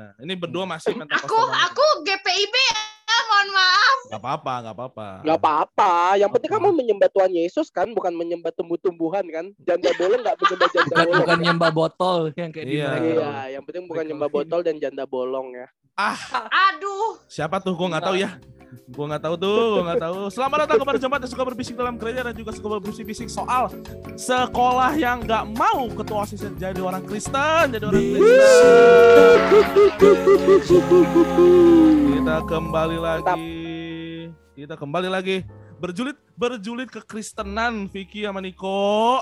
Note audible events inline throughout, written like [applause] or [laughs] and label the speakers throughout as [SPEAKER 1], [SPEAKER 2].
[SPEAKER 1] Nah, ini berdua
[SPEAKER 2] [laughs]
[SPEAKER 1] masih
[SPEAKER 2] Aku aku GPIB ya, mohon maaf.
[SPEAKER 1] Gak apa-apa, gak apa-apa.
[SPEAKER 3] Gak apa-apa. Yang penting kamu menyembah Tuhan Yesus kan, bukan menyembah tumbuh-tumbuhan kan. Janda bolong nggak menyembah janda
[SPEAKER 4] Bukan
[SPEAKER 3] bolong.
[SPEAKER 4] bukan nyembah botol yang kayak
[SPEAKER 1] Iya.
[SPEAKER 4] di
[SPEAKER 3] Iya, yang penting bukan
[SPEAKER 4] Michael
[SPEAKER 3] nyembah
[SPEAKER 4] Finn.
[SPEAKER 3] botol dan janda bolong ya.
[SPEAKER 2] Aduh.
[SPEAKER 1] Siapa tuh? Gue nggak tahu ya. Gue nggak tahu tuh, gue nggak tahu. Selamat datang kepada jemaat yang suka berbisik dalam gereja dan juga suka berbisik-bisik soal sekolah yang nggak mau ketua osis jadi orang Kristen, jadi orang Kristen. Kita kembali lagi. Kita kembali lagi. Berjulit berjulit kekristenan Vicky sama Niko.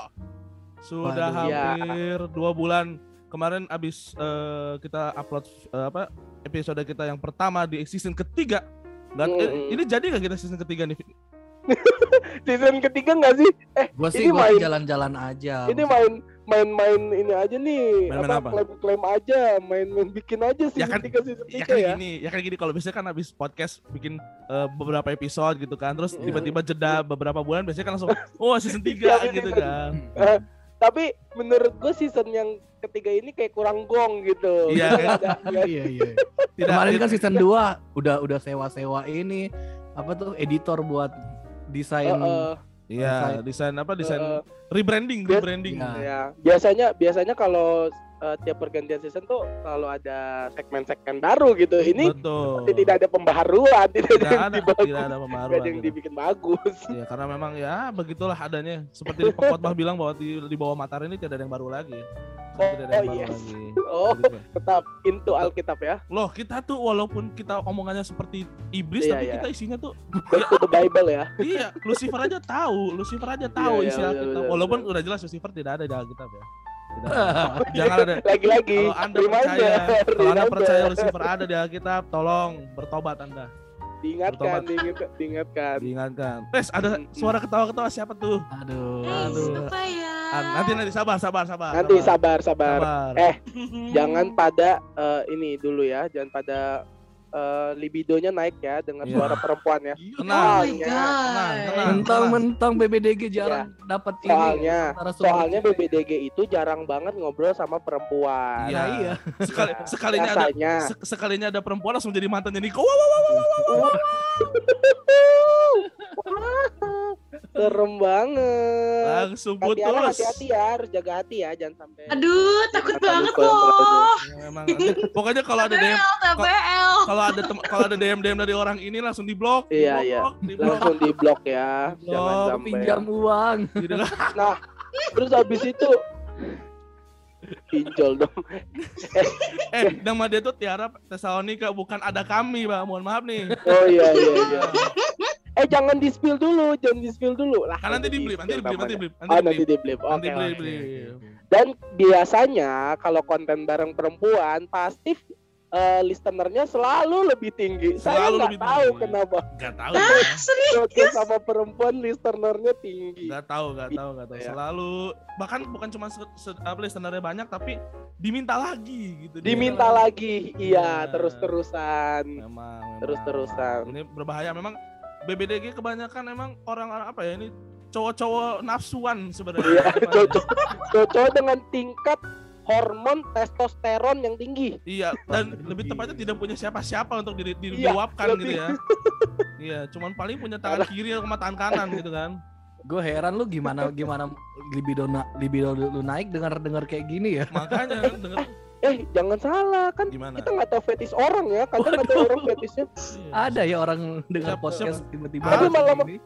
[SPEAKER 1] Sudah
[SPEAKER 4] Waduh,
[SPEAKER 3] ya.
[SPEAKER 1] hampir dua bulan. Kemarin abis eh, kita upload eh, apa episode kita yang pertama di season ketiga. Nggak- eh,
[SPEAKER 3] Mm.
[SPEAKER 1] Ini jadi nggak kita season ketiga nih? Vicky?
[SPEAKER 3] Season ketiga nggak sih?
[SPEAKER 4] Gue sih
[SPEAKER 3] Ini
[SPEAKER 4] gua sih
[SPEAKER 3] main-
[SPEAKER 4] jalan-jalan aja.
[SPEAKER 3] Ini main main-main ini aja nih.
[SPEAKER 1] Main-main apa?
[SPEAKER 3] Klaim-klaim aja, main-main bikin aja sih.
[SPEAKER 1] Ya kan-
[SPEAKER 3] ketiga season
[SPEAKER 1] Ya
[SPEAKER 3] tiga
[SPEAKER 1] kan
[SPEAKER 3] ya.
[SPEAKER 1] gini, ya kan gini kalau biasanya kan abis podcast bikin eh, beberapa episode gitu kan, terus
[SPEAKER 3] Mm.
[SPEAKER 1] tiba-tiba jeda beberapa bulan biasanya kan
[SPEAKER 3] [laughs]
[SPEAKER 1] langsung oh season
[SPEAKER 3] Iya,
[SPEAKER 1] 3 gitu
[SPEAKER 3] season.
[SPEAKER 1] kan.
[SPEAKER 3] Tapi menurut gue season yang ketiga ini kayak kurang gong gitu.
[SPEAKER 1] Iya,
[SPEAKER 3] Nggak
[SPEAKER 1] kan?
[SPEAKER 3] ada- nggak-
[SPEAKER 4] Iya iya. Kemarin
[SPEAKER 1] ya,
[SPEAKER 4] kan season 2 udah udah sewa-sewa ini apa tuh editor buat desain
[SPEAKER 3] Heeh,
[SPEAKER 1] Iya, desain apa desain
[SPEAKER 3] heeh.
[SPEAKER 1] rebranding,
[SPEAKER 3] Biar-
[SPEAKER 1] rebranding.
[SPEAKER 4] Iya.
[SPEAKER 3] Ya, biasanya biasanya kalau eh, tiap pergantian season tuh selalu ada segmen-segmen baru gitu. Ini
[SPEAKER 1] Betul.
[SPEAKER 3] seperti tidak ada pembaharuan, tidak ada
[SPEAKER 1] Tidak
[SPEAKER 3] yang
[SPEAKER 1] ada,
[SPEAKER 3] dibagus,
[SPEAKER 1] tidak ada
[SPEAKER 3] tidak
[SPEAKER 1] pembaruan.
[SPEAKER 3] ada yang
[SPEAKER 1] gitu.
[SPEAKER 3] dibikin bagus.
[SPEAKER 1] Ya, karena memang ya begitulah adanya. Seperti pengkhotbah bilang bahwa di, di bawah matahari ini tidak ada yang baru lagi. Tidak ada yang
[SPEAKER 3] Oh,
[SPEAKER 1] baru
[SPEAKER 3] yes.
[SPEAKER 1] lagi.
[SPEAKER 3] [laughs] Oh,
[SPEAKER 1] Gitu.
[SPEAKER 3] tetap into Alkitab ya.
[SPEAKER 1] Loh, kita tuh walaupun kita omongannya seperti iblis
[SPEAKER 3] Iya,
[SPEAKER 1] tapi
[SPEAKER 3] iya.
[SPEAKER 1] kita isinya tuh
[SPEAKER 3] Back to the Bible ya.
[SPEAKER 1] iya, Lucifer aja tahu, Lucifer aja tahu
[SPEAKER 3] Iya, iya,
[SPEAKER 1] isi
[SPEAKER 3] betul,
[SPEAKER 1] Alkitab.
[SPEAKER 3] betul,
[SPEAKER 1] Walaupun
[SPEAKER 3] betul.
[SPEAKER 1] udah jelas Lucifer tidak ada di Alkitab ya.
[SPEAKER 3] [laughs]
[SPEAKER 1] Tidak ada. Jangan ada
[SPEAKER 3] Lagi-lagi.
[SPEAKER 1] kalau Anda percaya,
[SPEAKER 3] reminder,
[SPEAKER 1] kalau Anda
[SPEAKER 3] reminder.
[SPEAKER 1] percaya Lucifer ada di Alkitab, tolong bertobat Anda.
[SPEAKER 3] diingatkan,
[SPEAKER 1] bertobat.
[SPEAKER 3] diingat- diingatkan.
[SPEAKER 1] diingatkan. Wes ada suara ketawa-ketawa siapa tuh?
[SPEAKER 4] Aduh.
[SPEAKER 3] Iya.
[SPEAKER 2] Hey,
[SPEAKER 4] Aduh.
[SPEAKER 2] siapa ya?
[SPEAKER 1] Ah, nanti nanti sabar sabar sabar.
[SPEAKER 3] Nanti sabar, sabar.
[SPEAKER 1] sabar.
[SPEAKER 3] Eh,
[SPEAKER 1] Oh
[SPEAKER 3] Jangan pada eh, ini dulu ya, jangan pada eh, libidonya naik ya dengan
[SPEAKER 1] Iya.
[SPEAKER 3] suara perempuan ya.
[SPEAKER 2] Oh
[SPEAKER 1] Tenang.
[SPEAKER 2] my
[SPEAKER 3] Tenang,
[SPEAKER 2] god.
[SPEAKER 3] Ah.
[SPEAKER 1] tenang.
[SPEAKER 4] Mentang-mentang BBDG jarang dapat ini.
[SPEAKER 3] Iya. Soalnya,
[SPEAKER 4] narasumber
[SPEAKER 3] Soalnya
[SPEAKER 4] cewek.
[SPEAKER 1] ya.
[SPEAKER 3] BBDG itu jarang banget ngobrol sama perempuan.
[SPEAKER 4] Nah, iya.
[SPEAKER 1] Sekali
[SPEAKER 3] Ya,
[SPEAKER 1] sekalinya ada
[SPEAKER 3] biasanya.
[SPEAKER 1] se- sekalinya ada perempuan langsung jadi mantannya Niko. Wow, wow, wow.
[SPEAKER 3] Serem banget.
[SPEAKER 1] Langsung
[SPEAKER 3] Tatiana
[SPEAKER 1] putus.
[SPEAKER 3] hati-hati ya, harus jaga hati ya, jangan sampai.
[SPEAKER 2] Aduh, takut
[SPEAKER 3] Makan
[SPEAKER 2] banget
[SPEAKER 3] luka yang berat
[SPEAKER 2] loh.
[SPEAKER 1] Ya, memang nanti- pokoknya kalau ada DM
[SPEAKER 2] TBL, TBL.
[SPEAKER 1] kalau ada tem- kalau ada DM DM dari orang ini langsung diblok,
[SPEAKER 3] Iya,
[SPEAKER 1] diblok,
[SPEAKER 3] iya.
[SPEAKER 1] diblok,
[SPEAKER 3] Langsung di blok ya,
[SPEAKER 1] Diblok,
[SPEAKER 3] jangan sampai.
[SPEAKER 4] pinjam uang.
[SPEAKER 1] gitu kan.
[SPEAKER 3] Terus habis itu pinjol dong.
[SPEAKER 1] Eh, nama dia tuh Tiara Tesalonika bukan ada kami, Pak. Mohon maaf nih.
[SPEAKER 3] Oh iya iya iya. Eh jangan di spill dulu, jangan di spill dulu lah.
[SPEAKER 1] Kan nanti dibeli, nanti
[SPEAKER 3] di-spill
[SPEAKER 1] dibeli, nanti dibeli, nanti dibeli.
[SPEAKER 3] namanya. Oh nanti di blip. Oke.
[SPEAKER 1] Nanti beli,
[SPEAKER 3] oke.
[SPEAKER 1] beli.
[SPEAKER 3] Dan biasanya kalau konten bareng perempuan pasti eh, listenernya selalu lebih tinggi. Saya
[SPEAKER 1] Selalu
[SPEAKER 3] nggak
[SPEAKER 1] lebih
[SPEAKER 3] tahu
[SPEAKER 1] tinggi.
[SPEAKER 3] kenapa
[SPEAKER 1] Gak tau ya.
[SPEAKER 2] Serius.
[SPEAKER 3] konten sama perempuan listenernya tinggi.
[SPEAKER 1] Gak tau, gak tau, gak tau.
[SPEAKER 3] Iya.
[SPEAKER 1] Selalu, bahkan bukan cuma se- se- apa, listenernya banyak, tapi diminta lagi gitu.
[SPEAKER 3] Diminta lagi, iya
[SPEAKER 1] Iya.
[SPEAKER 3] terus-terusan.
[SPEAKER 1] Memang, memang.
[SPEAKER 3] Terus-terusan.
[SPEAKER 1] Ini berbahaya. Memang BBDG kebanyakan emang orang-orang apa ya, ini cowok-cowok nafsuan sebenarnya.
[SPEAKER 3] Iya, cocok, cocok dengan tingkat hormon testosteron yang tinggi.
[SPEAKER 1] Iya, dan lebih tepatnya tidak punya siapa-siapa untuk di, di,
[SPEAKER 3] Iya,
[SPEAKER 1] diluapkan gitu
[SPEAKER 3] lebih.
[SPEAKER 1] ya.
[SPEAKER 3] [laughs]
[SPEAKER 1] Iya, cuman paling punya tangan kiri sama tangan kanan gitu kan.
[SPEAKER 4] Gue heran lu gimana gimana libido na- libido lu naik dengar dengar kayak gini ya.
[SPEAKER 1] Makanya kan denger
[SPEAKER 3] Eh jangan salah kan
[SPEAKER 1] gimana?
[SPEAKER 3] kita nggak tahu fetish orang ya kadang ada
[SPEAKER 4] Waduh.
[SPEAKER 3] orang fetishnya
[SPEAKER 1] Iya.
[SPEAKER 3] Ah,
[SPEAKER 4] Ada ya orang dengar
[SPEAKER 1] Siapa,
[SPEAKER 4] podcast tiba-tiba.
[SPEAKER 1] Tapi
[SPEAKER 4] langsung
[SPEAKER 3] malam-
[SPEAKER 4] ini.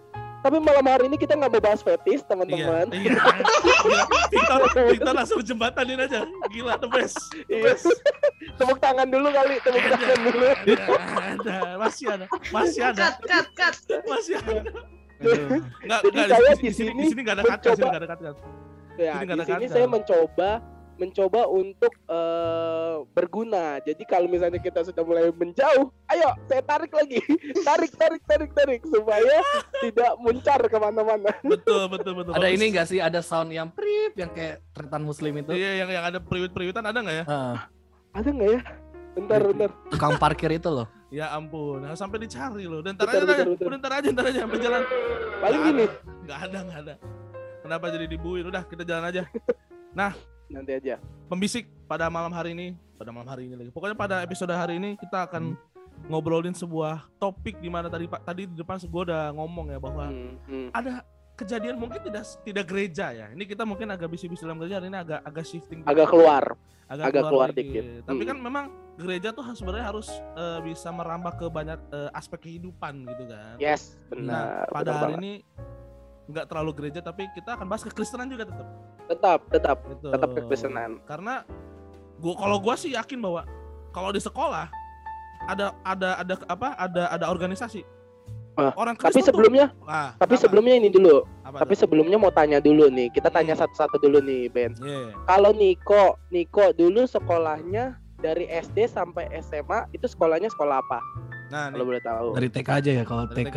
[SPEAKER 3] tapi malam hari ini kita nggak mau bahas fetish
[SPEAKER 1] Iya,
[SPEAKER 3] teman-teman
[SPEAKER 1] iya. Gila, Victor, Victor langsung jembatanin aja. Gila, the best. The
[SPEAKER 3] Iya.
[SPEAKER 1] best.
[SPEAKER 3] tepuk tangan dulu kali tepuk
[SPEAKER 1] Ada.
[SPEAKER 3] tangan dulu
[SPEAKER 1] Iya, ada, masih ada, masih ada,
[SPEAKER 2] Cut, cut, cut.
[SPEAKER 1] masih ada.
[SPEAKER 4] Aduh.
[SPEAKER 1] Enggak,
[SPEAKER 3] Iya. Jadi saya di
[SPEAKER 1] di
[SPEAKER 3] sini
[SPEAKER 1] sini enggak ada kata,
[SPEAKER 3] mencoba-
[SPEAKER 1] sini enggak ada kata.
[SPEAKER 3] ya
[SPEAKER 1] Jadi
[SPEAKER 3] di
[SPEAKER 1] nggak ada
[SPEAKER 3] sini
[SPEAKER 1] kata.
[SPEAKER 3] saya mencoba mencoba untuk eh, berguna jadi kalau misalnya kita sudah mulai menjauh ayo saya tarik lagi [laughs] tarik tarik tarik tarik supaya tidak muncar kemana-mana
[SPEAKER 1] Betul, betul, betul.
[SPEAKER 4] Ada
[SPEAKER 1] Bagus.
[SPEAKER 4] ini gak sih ada sound yang prip yang kayak tretan muslim itu?
[SPEAKER 1] Iya, yang yang ada periwit-periwitan ada enggak ya?
[SPEAKER 4] Heeh.
[SPEAKER 3] ada nggak ya bentar bentar
[SPEAKER 4] tukang parkir itu loh.
[SPEAKER 1] Ya ampun, harus sampai dicari loh. Dan ntar aja,
[SPEAKER 3] Bentar,
[SPEAKER 1] ntar aja,
[SPEAKER 3] bentar, bentar.
[SPEAKER 1] Udah, ntar aja, ntar aja, sampai jalan.
[SPEAKER 3] paling
[SPEAKER 1] Nggak
[SPEAKER 3] gini
[SPEAKER 1] ada, Nggak ada, nggak ada. Kenapa jadi dibuin? Udah, kita jalan aja.
[SPEAKER 3] nanti aja
[SPEAKER 1] Pembisik pada malam hari ini pada malam hari ini lagi. Pokoknya pada episode hari ini kita akan ngobrolin sebuah topik di mana tadi Pak tadi di depan gue udah ngomong ya bahwa
[SPEAKER 3] Hmm, hmm.
[SPEAKER 1] ada kejadian mungkin tidak tidak gereja ya. Ini kita mungkin agak bisik-bisik dalam gereja hari ini agak agak shifting
[SPEAKER 3] Agak keluar. agak keluar
[SPEAKER 1] lagi.
[SPEAKER 3] dikit.
[SPEAKER 1] Tapi
[SPEAKER 3] Mm.
[SPEAKER 1] kan memang gereja tuh harus- sebenarnya harus eh, bisa merambah ke banyak eh, aspek kehidupan gitu kan.
[SPEAKER 3] Yes,
[SPEAKER 1] Nah,
[SPEAKER 3] benar.
[SPEAKER 1] pada
[SPEAKER 3] benar
[SPEAKER 1] hari
[SPEAKER 3] banget.
[SPEAKER 1] ini nggak terlalu gereja tapi kita akan bahas kekristenan juga tetap.
[SPEAKER 3] tetap tetap
[SPEAKER 1] Gitu.
[SPEAKER 3] tetap kekristenan.
[SPEAKER 1] Karena gua kalau gua sih yakin bahwa kalau di sekolah ada ada ada apa ada ada organisasi
[SPEAKER 3] Ah,
[SPEAKER 1] orang
[SPEAKER 3] Tapi
[SPEAKER 1] Kristen tuh-
[SPEAKER 3] sebelumnya,
[SPEAKER 1] Ah,
[SPEAKER 3] tapi
[SPEAKER 1] apa?
[SPEAKER 3] sebelumnya ini dulu.
[SPEAKER 1] Apa
[SPEAKER 3] Tapi
[SPEAKER 1] tuh?
[SPEAKER 3] sebelumnya mau tanya dulu nih. Kita tanya
[SPEAKER 1] Hmm.
[SPEAKER 3] satu-satu dulu nih, Ben.
[SPEAKER 1] Iya.
[SPEAKER 3] Kalau Niko, Niko dulu sekolahnya dari SD sampai SMA itu sekolahnya sekolah apa?
[SPEAKER 1] Nah,
[SPEAKER 3] Kalau boleh tahu.
[SPEAKER 4] Dari TK aja ya kalau
[SPEAKER 1] Dari
[SPEAKER 4] TK.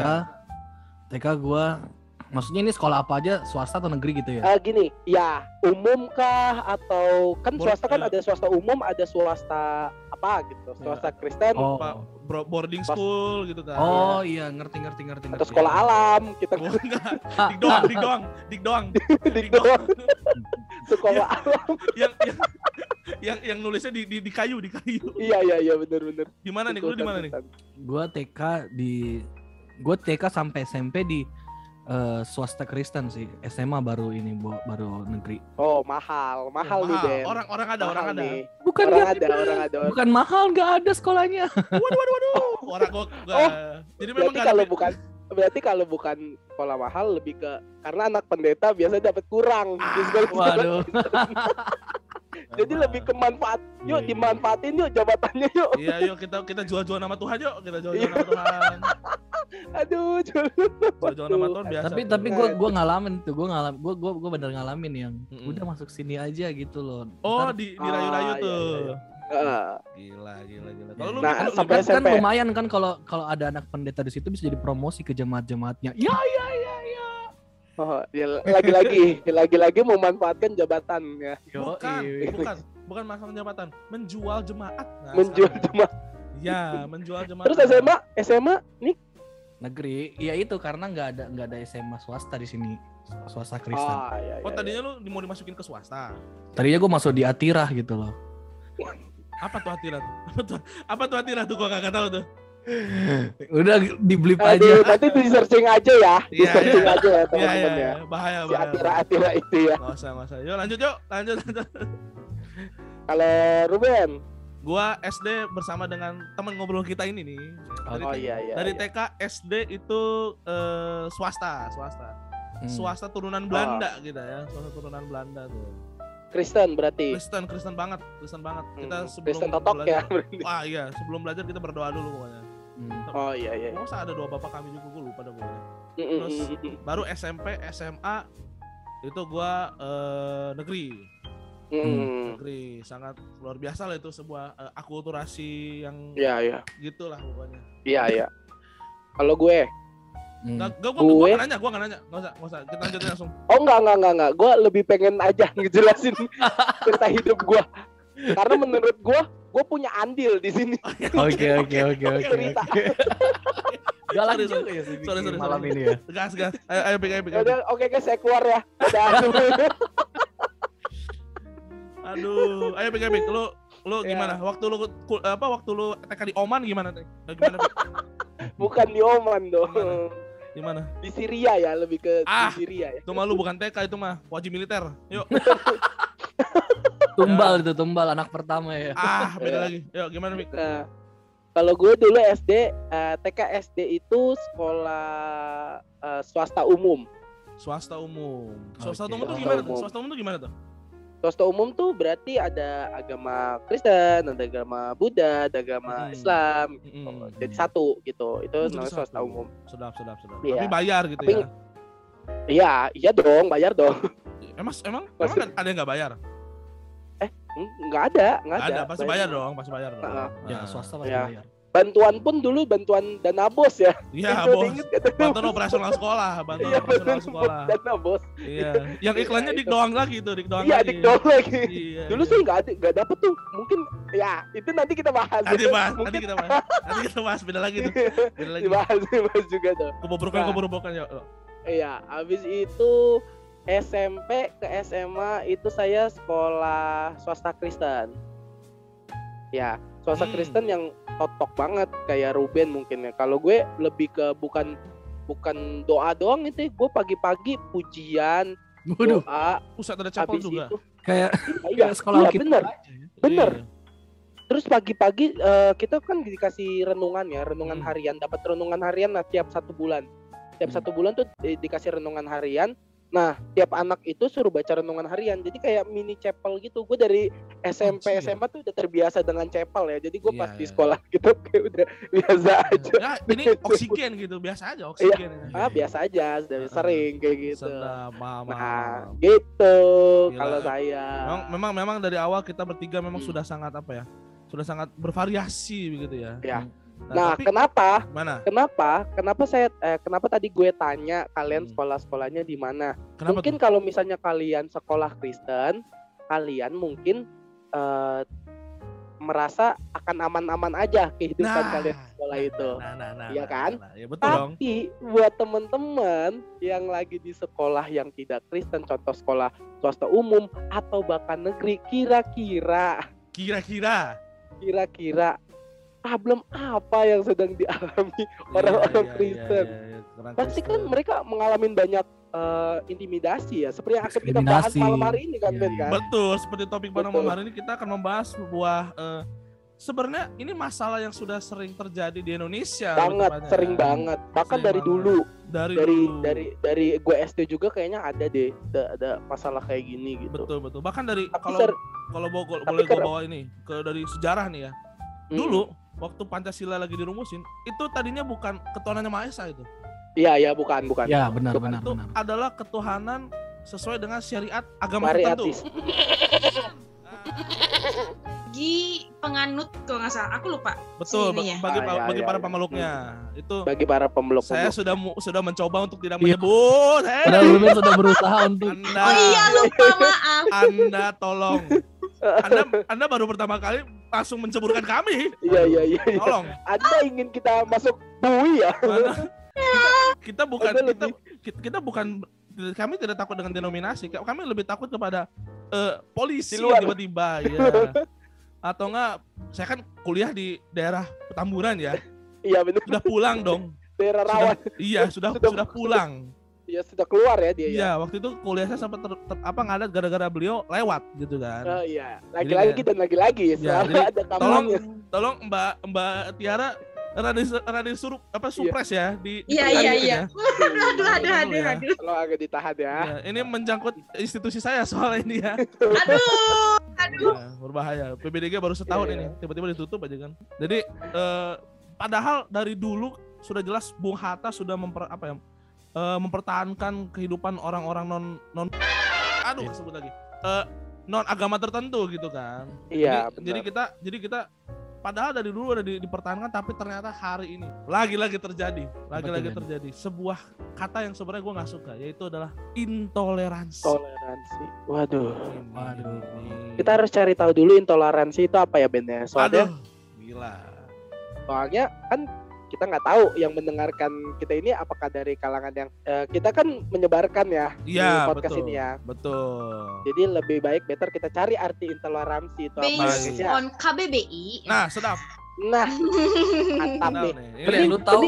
[SPEAKER 4] TK gua maksudnya ini sekolah apa aja swasta atau negeri gitu ya?
[SPEAKER 3] Ah, gini, ya umum kah atau kan
[SPEAKER 1] Boleh,
[SPEAKER 3] swasta kan
[SPEAKER 1] eh.
[SPEAKER 3] ada swasta umum, ada swasta apa gitu,
[SPEAKER 1] Ya.
[SPEAKER 3] swasta Kristen
[SPEAKER 4] Oh.
[SPEAKER 1] Pak, bro- boarding school gitu kan. [laughs]
[SPEAKER 4] Oh iya ngerti ngerti ngerti
[SPEAKER 3] atau
[SPEAKER 4] ngerti.
[SPEAKER 3] sekolah alam [laughs] kita gitu.
[SPEAKER 1] Oh, enggak.
[SPEAKER 4] Ah,
[SPEAKER 1] Dik doang, dik doang, dik doang.
[SPEAKER 3] [laughs] Dik
[SPEAKER 1] iya.
[SPEAKER 3] doang. sekolah alam.
[SPEAKER 1] yang, yang yang yang nulisnya di, di, di kayu, di kayu.
[SPEAKER 3] Iya iya iya benar-benar.
[SPEAKER 1] Di mana nih? Lu di mana nih?
[SPEAKER 4] Gua TK di gua TK sampai SMP di eh, swasta Kristen sih. SMA baru ini Bo, baru negeri.
[SPEAKER 3] Oh mahal, mahal nih Ben.
[SPEAKER 1] Orang orang ada,
[SPEAKER 3] Mahal
[SPEAKER 1] orang ada.
[SPEAKER 3] nih.
[SPEAKER 4] Bukan
[SPEAKER 3] Orang
[SPEAKER 4] nggak-
[SPEAKER 3] ada, orang ada. orang-
[SPEAKER 4] Bukan mahal nggak ada sekolahnya.
[SPEAKER 1] [laughs] Waduh, waduh, waduh. Orang gua, gua-
[SPEAKER 3] Oh,
[SPEAKER 1] Jadi memang
[SPEAKER 3] Berarti
[SPEAKER 1] nggak
[SPEAKER 3] kalau
[SPEAKER 1] ada-
[SPEAKER 3] bukan berarti kalau bukan sekolah mahal lebih ke karena anak pendeta biasanya dapat kurang
[SPEAKER 1] Ah,
[SPEAKER 3] di sekolah-
[SPEAKER 4] Waduh.
[SPEAKER 3] Jadi lebih ke manfaat. Yuk
[SPEAKER 1] Iya.
[SPEAKER 3] dimanfaatin yuk jabatannya yuk.
[SPEAKER 1] [laughs] Iya, yuk kita kita jual-jual nama Tuhan yuk. Kita
[SPEAKER 3] Iya.
[SPEAKER 1] jual-jual nama Tuhan.
[SPEAKER 3] Aduh, jol-
[SPEAKER 1] Jual-jual nama Tuhan biasa.
[SPEAKER 4] tapi
[SPEAKER 1] tuh.
[SPEAKER 4] tapi gua gua ngalamin tuh, gua ngalam gua gua gua bener ngalamin yang
[SPEAKER 1] Mm-mm.
[SPEAKER 4] udah masuk sini aja gitu loh.
[SPEAKER 1] Oh,
[SPEAKER 4] Ntar-
[SPEAKER 1] di di rayu-rayu
[SPEAKER 3] Ah, iya,
[SPEAKER 1] tuh.
[SPEAKER 3] iya, iya. [laughs] Heeh.
[SPEAKER 1] Gila, gila, gila. Kalau lu
[SPEAKER 3] Nah,
[SPEAKER 1] kalau lu-
[SPEAKER 3] sampai-
[SPEAKER 4] kan, kan
[SPEAKER 3] SMP.
[SPEAKER 4] lumayan kan kalau kalau ada anak pendeta di situ bisa jadi promosi ke jemaat-jemaatnya. Ya ya ya ya.
[SPEAKER 3] Oh, ya, lagi-lagi, lagi-lagi memanfaatkan jabatan ya,
[SPEAKER 1] Nah, bukan,
[SPEAKER 4] Yoi.
[SPEAKER 1] bukan, bukan masang jabatan, menjual jemaat. Nah,
[SPEAKER 3] menjual
[SPEAKER 1] sekarang.
[SPEAKER 3] jemaat.
[SPEAKER 1] Ya, menjual jemaat.
[SPEAKER 3] Terus SMA, SMA nih,
[SPEAKER 4] Negeri. Ya itu karena nggak ada nggak ada SMA swasta di sini. Swasta Kristen.
[SPEAKER 3] ah, ya,
[SPEAKER 1] Oh
[SPEAKER 3] ya, ya.
[SPEAKER 1] tadinya lu mau dimasukin ke swasta?
[SPEAKER 4] Tadinya gue masuk di Atirah gitu loh.
[SPEAKER 1] Apa tuh hati tuh? Apa tuh? Apa tuh hati tuh? Gua gak tahu tuh.
[SPEAKER 4] Udah dibeli
[SPEAKER 3] Aduh,
[SPEAKER 4] aja.
[SPEAKER 3] nanti di searching aja ya, di
[SPEAKER 1] Iya,
[SPEAKER 3] searching
[SPEAKER 1] iya.
[SPEAKER 3] aja
[SPEAKER 1] Iya
[SPEAKER 3] ya
[SPEAKER 1] iya,
[SPEAKER 3] teman-teman ya.
[SPEAKER 1] iya. bahaya
[SPEAKER 3] Si
[SPEAKER 1] bahaya.
[SPEAKER 3] Atira Atira itu ya.
[SPEAKER 1] Gak usah gak usah. Yuk lanjut yuk, lanjut lanjut.
[SPEAKER 3] Kalau Ruben,
[SPEAKER 1] Gua SD bersama dengan teman ngobrol kita ini nih. Dari,
[SPEAKER 3] oh iya iya.
[SPEAKER 1] dari
[SPEAKER 3] iya.
[SPEAKER 1] TK SD itu eh, swasta swasta
[SPEAKER 4] Hmm.
[SPEAKER 1] swasta turunan
[SPEAKER 3] Oh.
[SPEAKER 1] Belanda gitu ya swasta turunan Belanda tuh
[SPEAKER 3] Kristen berarti.
[SPEAKER 1] Kristen Kristen banget Kristen banget kita
[SPEAKER 3] Hmm,
[SPEAKER 1] sebelum
[SPEAKER 3] Kristen totok ya.
[SPEAKER 1] belajar wah iya sebelum belajar kita berdoa dulu pokoknya
[SPEAKER 4] Hmm.
[SPEAKER 3] Oh iya iya.
[SPEAKER 1] Gak usah ada doa bapak kami juga gue lupa dah pokoknya
[SPEAKER 3] Mm, mm,
[SPEAKER 1] Terus-
[SPEAKER 3] mm,
[SPEAKER 1] baru SMP SMA itu gua eh, negeri
[SPEAKER 3] mm,
[SPEAKER 1] Hmm.
[SPEAKER 3] mm.
[SPEAKER 1] negeri sangat luar biasa lah itu sebuah eh, akulturasi yang
[SPEAKER 3] Iya iya.
[SPEAKER 1] gitulah pokoknya
[SPEAKER 3] Iya iya. Kalau gue,
[SPEAKER 4] Hmm.
[SPEAKER 1] nggak gua, gua, gua
[SPEAKER 3] Gue-
[SPEAKER 1] nggak nanya gua nggak nanya nggak usah nggak usah kita lanjutin langsung
[SPEAKER 3] oh enggak enggak enggak enggak, gue lebih pengen aja [laughs] ngejelasin
[SPEAKER 1] [laughs]
[SPEAKER 3] cerita hidup gue. Karena menurut gue, gue punya andil di sini
[SPEAKER 4] Oke oke oke oke.
[SPEAKER 3] cerita.
[SPEAKER 4] Galak
[SPEAKER 1] Sorry,
[SPEAKER 4] juga ya sih
[SPEAKER 1] [laughs] Sorry, sorry,
[SPEAKER 4] malam
[SPEAKER 1] sorry.
[SPEAKER 4] ini ya.
[SPEAKER 1] [laughs] gas gas ayo ayo pik ayo pik,
[SPEAKER 3] Ya
[SPEAKER 1] ayo, pik.
[SPEAKER 3] udah, oke guys, saya keluar ya.
[SPEAKER 1] [laughs]
[SPEAKER 3] Udah.
[SPEAKER 1] aduh ayo pik ayo pik lu lu
[SPEAKER 3] Ya.
[SPEAKER 1] gimana waktu lu ku- apa waktu lu TK di Oman gimana Tek? Eh, gimana Pik?
[SPEAKER 3] Bukan di Oman dong.
[SPEAKER 1] [laughs] gimana
[SPEAKER 3] Di Syria ya, lebih ke
[SPEAKER 1] Ah.
[SPEAKER 3] di Syria ya.
[SPEAKER 1] itu mah lu bukan TK itu mah wajib militer [laughs] yuk
[SPEAKER 4] Tumbal itu tumbal anak pertama ya.
[SPEAKER 1] ah beda lagi yuk gimana pik
[SPEAKER 3] Nah, kalau gue dulu SD, eh, TK SD itu sekolah eh, swasta umum.
[SPEAKER 1] swasta umum swasta
[SPEAKER 4] Oke.
[SPEAKER 1] umum tuh
[SPEAKER 3] Swasta
[SPEAKER 1] gimana tuh
[SPEAKER 3] umum. Oh,
[SPEAKER 1] swasta umum tuh gimana tuh
[SPEAKER 3] Swasta umum tuh berarti ada agama Kristen, ada agama Buddha, ada agama
[SPEAKER 1] Hmm.
[SPEAKER 3] Islam.
[SPEAKER 1] Mm-mm.
[SPEAKER 3] gitu. Jadi satu gitu.
[SPEAKER 1] Oh,
[SPEAKER 3] Itu
[SPEAKER 1] jadi
[SPEAKER 3] namanya swasta
[SPEAKER 1] satu.
[SPEAKER 3] umum.
[SPEAKER 1] sedap sedap sedap
[SPEAKER 3] Iya.
[SPEAKER 1] tapi bayar gitu
[SPEAKER 3] Tapi-
[SPEAKER 1] ya
[SPEAKER 3] Iya, iya dong, bayar dong. [laughs]
[SPEAKER 1] emang emang
[SPEAKER 3] Pasti-
[SPEAKER 1] emang ada yang nggak bayar
[SPEAKER 3] Hmm, Nggak ada, nggak
[SPEAKER 1] Nggak
[SPEAKER 3] ada.
[SPEAKER 1] ada pasti bayar dong pasti bayar dong
[SPEAKER 3] Ah,
[SPEAKER 4] Ya
[SPEAKER 1] Ah.
[SPEAKER 4] swasta pasti
[SPEAKER 3] Ya.
[SPEAKER 4] bayar.
[SPEAKER 3] Bantuan pun dulu bantuan dana bos ya.
[SPEAKER 1] iya
[SPEAKER 3] [laughs] Itu
[SPEAKER 1] bos
[SPEAKER 3] diinget nggak tuh?
[SPEAKER 1] bantuan operasional sekolah bantuan
[SPEAKER 3] Iya,
[SPEAKER 1] operasional
[SPEAKER 3] bantuan
[SPEAKER 1] sekolah
[SPEAKER 3] dana bos.
[SPEAKER 1] iya yang
[SPEAKER 3] Iya,
[SPEAKER 1] iklannya dik
[SPEAKER 3] itu.
[SPEAKER 1] doang lagi tuh dik doang
[SPEAKER 3] Iya,
[SPEAKER 1] lagi.
[SPEAKER 3] adik dong lagi.
[SPEAKER 1] Iya,
[SPEAKER 3] Dulu
[SPEAKER 1] iya.
[SPEAKER 3] sih nggak ada, nggak dapet tuh. Mungkin ya itu nanti kita bahas.
[SPEAKER 1] nanti
[SPEAKER 3] [laughs]
[SPEAKER 1] bahas nanti
[SPEAKER 3] Mungkin Iya.
[SPEAKER 1] kita gitu. bahas nanti kita bahas beda lagi tuh
[SPEAKER 3] [laughs]
[SPEAKER 1] beda lagi
[SPEAKER 3] dibahas, dibahas juga tuh.
[SPEAKER 1] kebobrokan
[SPEAKER 3] Nah.
[SPEAKER 1] kebobrokan ya
[SPEAKER 3] Iya, habis itu SMP ke SMA itu saya sekolah swasta Kristen. ya swasta
[SPEAKER 1] Hmm.
[SPEAKER 3] Kristen yang totok banget kayak Ruben mungkin ya kalau gue lebih ke bukan bukan doa doang itu ya. gue pagi-pagi pujian
[SPEAKER 4] Waduh,
[SPEAKER 3] doa
[SPEAKER 1] Pusat ada chapel
[SPEAKER 3] habis
[SPEAKER 1] juga.
[SPEAKER 3] itu
[SPEAKER 4] kayak
[SPEAKER 3] Iya,
[SPEAKER 4] kayak sekolah
[SPEAKER 3] iya,
[SPEAKER 4] kita.
[SPEAKER 3] bener
[SPEAKER 4] aja ya.
[SPEAKER 3] bener
[SPEAKER 1] Iya.
[SPEAKER 3] terus pagi-pagi eh, kita kan dikasih renungan ya renungan
[SPEAKER 1] Hmm.
[SPEAKER 3] harian dapat renungan harian nah tiap satu bulan tiap
[SPEAKER 4] Hmm.
[SPEAKER 3] satu bulan tuh di- dikasih renungan harian nah tiap anak itu suruh baca renungan harian jadi kayak mini chapel gitu gue dari SMP
[SPEAKER 1] Anjir.
[SPEAKER 3] SMA tuh udah terbiasa dengan chapel ya jadi gue
[SPEAKER 4] Iya,
[SPEAKER 3] pas di
[SPEAKER 4] iya.
[SPEAKER 3] sekolah [laughs] gitu kayak udah biasa aja
[SPEAKER 1] Ya, ini oksigen gitu, biasa aja oksigen.
[SPEAKER 3] ah biasa aja sudah
[SPEAKER 1] Heeh.
[SPEAKER 3] sering kayak gitu
[SPEAKER 1] Sedap, mama.
[SPEAKER 3] nah gitu
[SPEAKER 1] Gila.
[SPEAKER 3] kalau saya
[SPEAKER 1] Memang, memang memang dari awal kita bertiga memang
[SPEAKER 3] Hmm.
[SPEAKER 1] sudah sangat apa ya? Sudah sangat bervariasi begitu ya.
[SPEAKER 3] Ya.
[SPEAKER 1] Nah,
[SPEAKER 3] nah
[SPEAKER 1] tapi
[SPEAKER 3] kenapa
[SPEAKER 1] mana?
[SPEAKER 3] Kenapa? Kenapa saya? eh, kenapa tadi gue tanya kalian
[SPEAKER 1] Hmm.
[SPEAKER 3] sekolah-sekolahnya di mana?
[SPEAKER 1] Kenapa
[SPEAKER 3] mungkin
[SPEAKER 1] tuh?
[SPEAKER 3] kalau misalnya kalian sekolah Kristen, kalian mungkin eh, merasa akan aman-aman aja kehidupan kalian di sekolah itu.
[SPEAKER 1] Nah, nah, nah,
[SPEAKER 3] Iya
[SPEAKER 1] nah,
[SPEAKER 3] kan?
[SPEAKER 1] nah, nah. Ya betul dong.
[SPEAKER 3] Tapi buat teman-teman yang lagi di sekolah yang tidak Kristen, contoh sekolah swasta umum atau bahkan negeri, kira-kira,
[SPEAKER 1] Kira-kira
[SPEAKER 3] kira-kira problem apa yang sedang dialami
[SPEAKER 1] Iya,
[SPEAKER 3] Orang-orang
[SPEAKER 1] iya,
[SPEAKER 3] Kristen.
[SPEAKER 1] iya, iya, iya, orang
[SPEAKER 3] pasti kan
[SPEAKER 1] Kristen.
[SPEAKER 3] mereka mengalami banyak eh, intimidasi ya seperti yang akan kita bahas
[SPEAKER 4] Diskriminasi.
[SPEAKER 3] malam hari ini kan
[SPEAKER 4] Iya,
[SPEAKER 3] Ben
[SPEAKER 4] iya.
[SPEAKER 3] kan
[SPEAKER 1] Betul, seperti topik pada
[SPEAKER 3] Betul.
[SPEAKER 1] malam hari ini kita akan membahas sebuah eh, sebenarnya ini masalah yang sudah sering terjadi di Indonesia. lebih
[SPEAKER 3] banget
[SPEAKER 1] tepatnya,
[SPEAKER 3] sering
[SPEAKER 1] kan?
[SPEAKER 3] banget bahkan
[SPEAKER 1] Sering
[SPEAKER 3] dari
[SPEAKER 1] banget.
[SPEAKER 3] dulu
[SPEAKER 1] Dari
[SPEAKER 3] dari
[SPEAKER 1] dulu.
[SPEAKER 3] dari dari gue SD juga kayaknya ada deh ada, ada masalah kayak gini gitu
[SPEAKER 1] betul betul. Bahkan dari
[SPEAKER 3] tapi
[SPEAKER 1] kalau
[SPEAKER 3] ser-
[SPEAKER 1] kalau bo-
[SPEAKER 3] tapi
[SPEAKER 1] boleh gue
[SPEAKER 3] ser-
[SPEAKER 1] bawa ini ke dari sejarah nih ya.
[SPEAKER 3] Mm,
[SPEAKER 1] Dulu waktu Pancasila lagi dirumusin, itu tadinya bukan ketuhanannya Maha Esa itu.
[SPEAKER 3] iya iya bukan bukan
[SPEAKER 4] Ya, benar benar
[SPEAKER 1] itu
[SPEAKER 4] benar.
[SPEAKER 1] adalah ketuhanan sesuai dengan syariat agama tertentu.
[SPEAKER 3] variatis
[SPEAKER 2] Gi penganut kalau nggak salah, aku lupa.
[SPEAKER 1] Betul, ba-
[SPEAKER 2] Sininya.
[SPEAKER 1] bagi
[SPEAKER 3] Ah, ya,
[SPEAKER 1] bagi
[SPEAKER 3] ya,
[SPEAKER 1] para
[SPEAKER 3] ya.
[SPEAKER 1] pemeluknya. Itu
[SPEAKER 3] bagi para pemeluk
[SPEAKER 1] saya sudah mu- sudah mencoba untuk tidak
[SPEAKER 4] Iya.
[SPEAKER 1] menyebut. Hei,
[SPEAKER 4] Padahal Ruben sudah berusaha untuk
[SPEAKER 1] Anda,
[SPEAKER 2] Oh iya lupa maaf.
[SPEAKER 1] Anda tolong. Anda Anda baru pertama kali langsung menceburkan kami.
[SPEAKER 3] iya iya iya iya.
[SPEAKER 1] Tolong.
[SPEAKER 3] anda ingin kita masuk bui ya
[SPEAKER 1] Anda-
[SPEAKER 2] [laughs]
[SPEAKER 1] kita, kita bukan
[SPEAKER 3] Anda
[SPEAKER 1] kita, kita kita bukan kami tidak takut dengan denominasi. Kami lebih takut kepada eh, polisi
[SPEAKER 3] Di luar.
[SPEAKER 1] yang tiba-tiba ya.
[SPEAKER 3] [laughs]
[SPEAKER 1] Atau enggak saya kan kuliah di daerah Petamburan ya.
[SPEAKER 3] iya benar
[SPEAKER 1] Sudah pulang dong.
[SPEAKER 3] daerah
[SPEAKER 1] Sudah,
[SPEAKER 3] rawan
[SPEAKER 1] iya, sudah
[SPEAKER 3] Sudah-
[SPEAKER 1] sudah pulang.
[SPEAKER 3] ya sudah keluar ya dia ya
[SPEAKER 1] Iya, waktu itu kuliah saya sempat ter- ter- apa ngadat gara-gara beliau lewat gitu kan.
[SPEAKER 3] Oh iya, lagi-lagi
[SPEAKER 1] kayak-
[SPEAKER 3] dan lagi-lagi
[SPEAKER 1] Ya,
[SPEAKER 3] selama
[SPEAKER 1] jadi
[SPEAKER 3] ada
[SPEAKER 1] tolong
[SPEAKER 3] kamarnya.
[SPEAKER 1] tolong Mbak Mbak Tiara rada rada surup apa
[SPEAKER 3] Iya.
[SPEAKER 1] supres ya di di
[SPEAKER 2] Iya, iya,
[SPEAKER 1] kantin
[SPEAKER 2] iya.
[SPEAKER 1] ya. [laughs]
[SPEAKER 2] Aduh aduh aduh
[SPEAKER 1] Ya.
[SPEAKER 2] aduh.
[SPEAKER 3] Tolong agak ditahan ya.
[SPEAKER 1] Iya, ini menjangkut institusi saya soalnya ini
[SPEAKER 3] [laughs]
[SPEAKER 1] ya.
[SPEAKER 2] Aduh. Aduh.
[SPEAKER 1] Nah, berbahaya. PBDG baru setahun
[SPEAKER 3] Iya,
[SPEAKER 1] ini, tiba-tiba ditutup aja kan. Jadi eh, padahal dari dulu sudah jelas Bung Hatta sudah memper apa ya eh, mempertahankan kehidupan orang-orang non non aduh sebut lagi Eh, non agama tertentu gitu kan.
[SPEAKER 3] Iya,
[SPEAKER 1] jadi, jadi kita jadi kita padahal dari dulu ada di- dipertahankan tapi ternyata hari ini lagi-lagi terjadi, lagi-lagi
[SPEAKER 4] Ben?
[SPEAKER 1] terjadi sebuah kata yang sebenarnya gue nggak suka yaitu adalah intoleransi.
[SPEAKER 3] toleransi. Waduh.
[SPEAKER 4] Waduh.
[SPEAKER 1] Ini-
[SPEAKER 3] Kita harus cari tahu dulu intoleransi itu apa ya Ben ya.
[SPEAKER 1] Aduh,
[SPEAKER 3] Soalnya,
[SPEAKER 1] gila.
[SPEAKER 3] soalnya kan kita nggak tahu yang mendengarkan kita ini apakah dari kalangan yang eh, kita kan menyebarkan ya
[SPEAKER 1] Iya,
[SPEAKER 3] di podcast
[SPEAKER 1] betul.
[SPEAKER 3] ini ya.
[SPEAKER 1] Betul.
[SPEAKER 3] Jadi lebih baik better kita cari arti intoleransi itu apa
[SPEAKER 1] Base
[SPEAKER 2] Based
[SPEAKER 3] ya.
[SPEAKER 2] on KBBI.
[SPEAKER 1] Nah, sedap.
[SPEAKER 3] Nah, mantap
[SPEAKER 1] Kenal
[SPEAKER 3] nih.
[SPEAKER 1] nih. Ini,
[SPEAKER 4] Bre, lu tahu eh,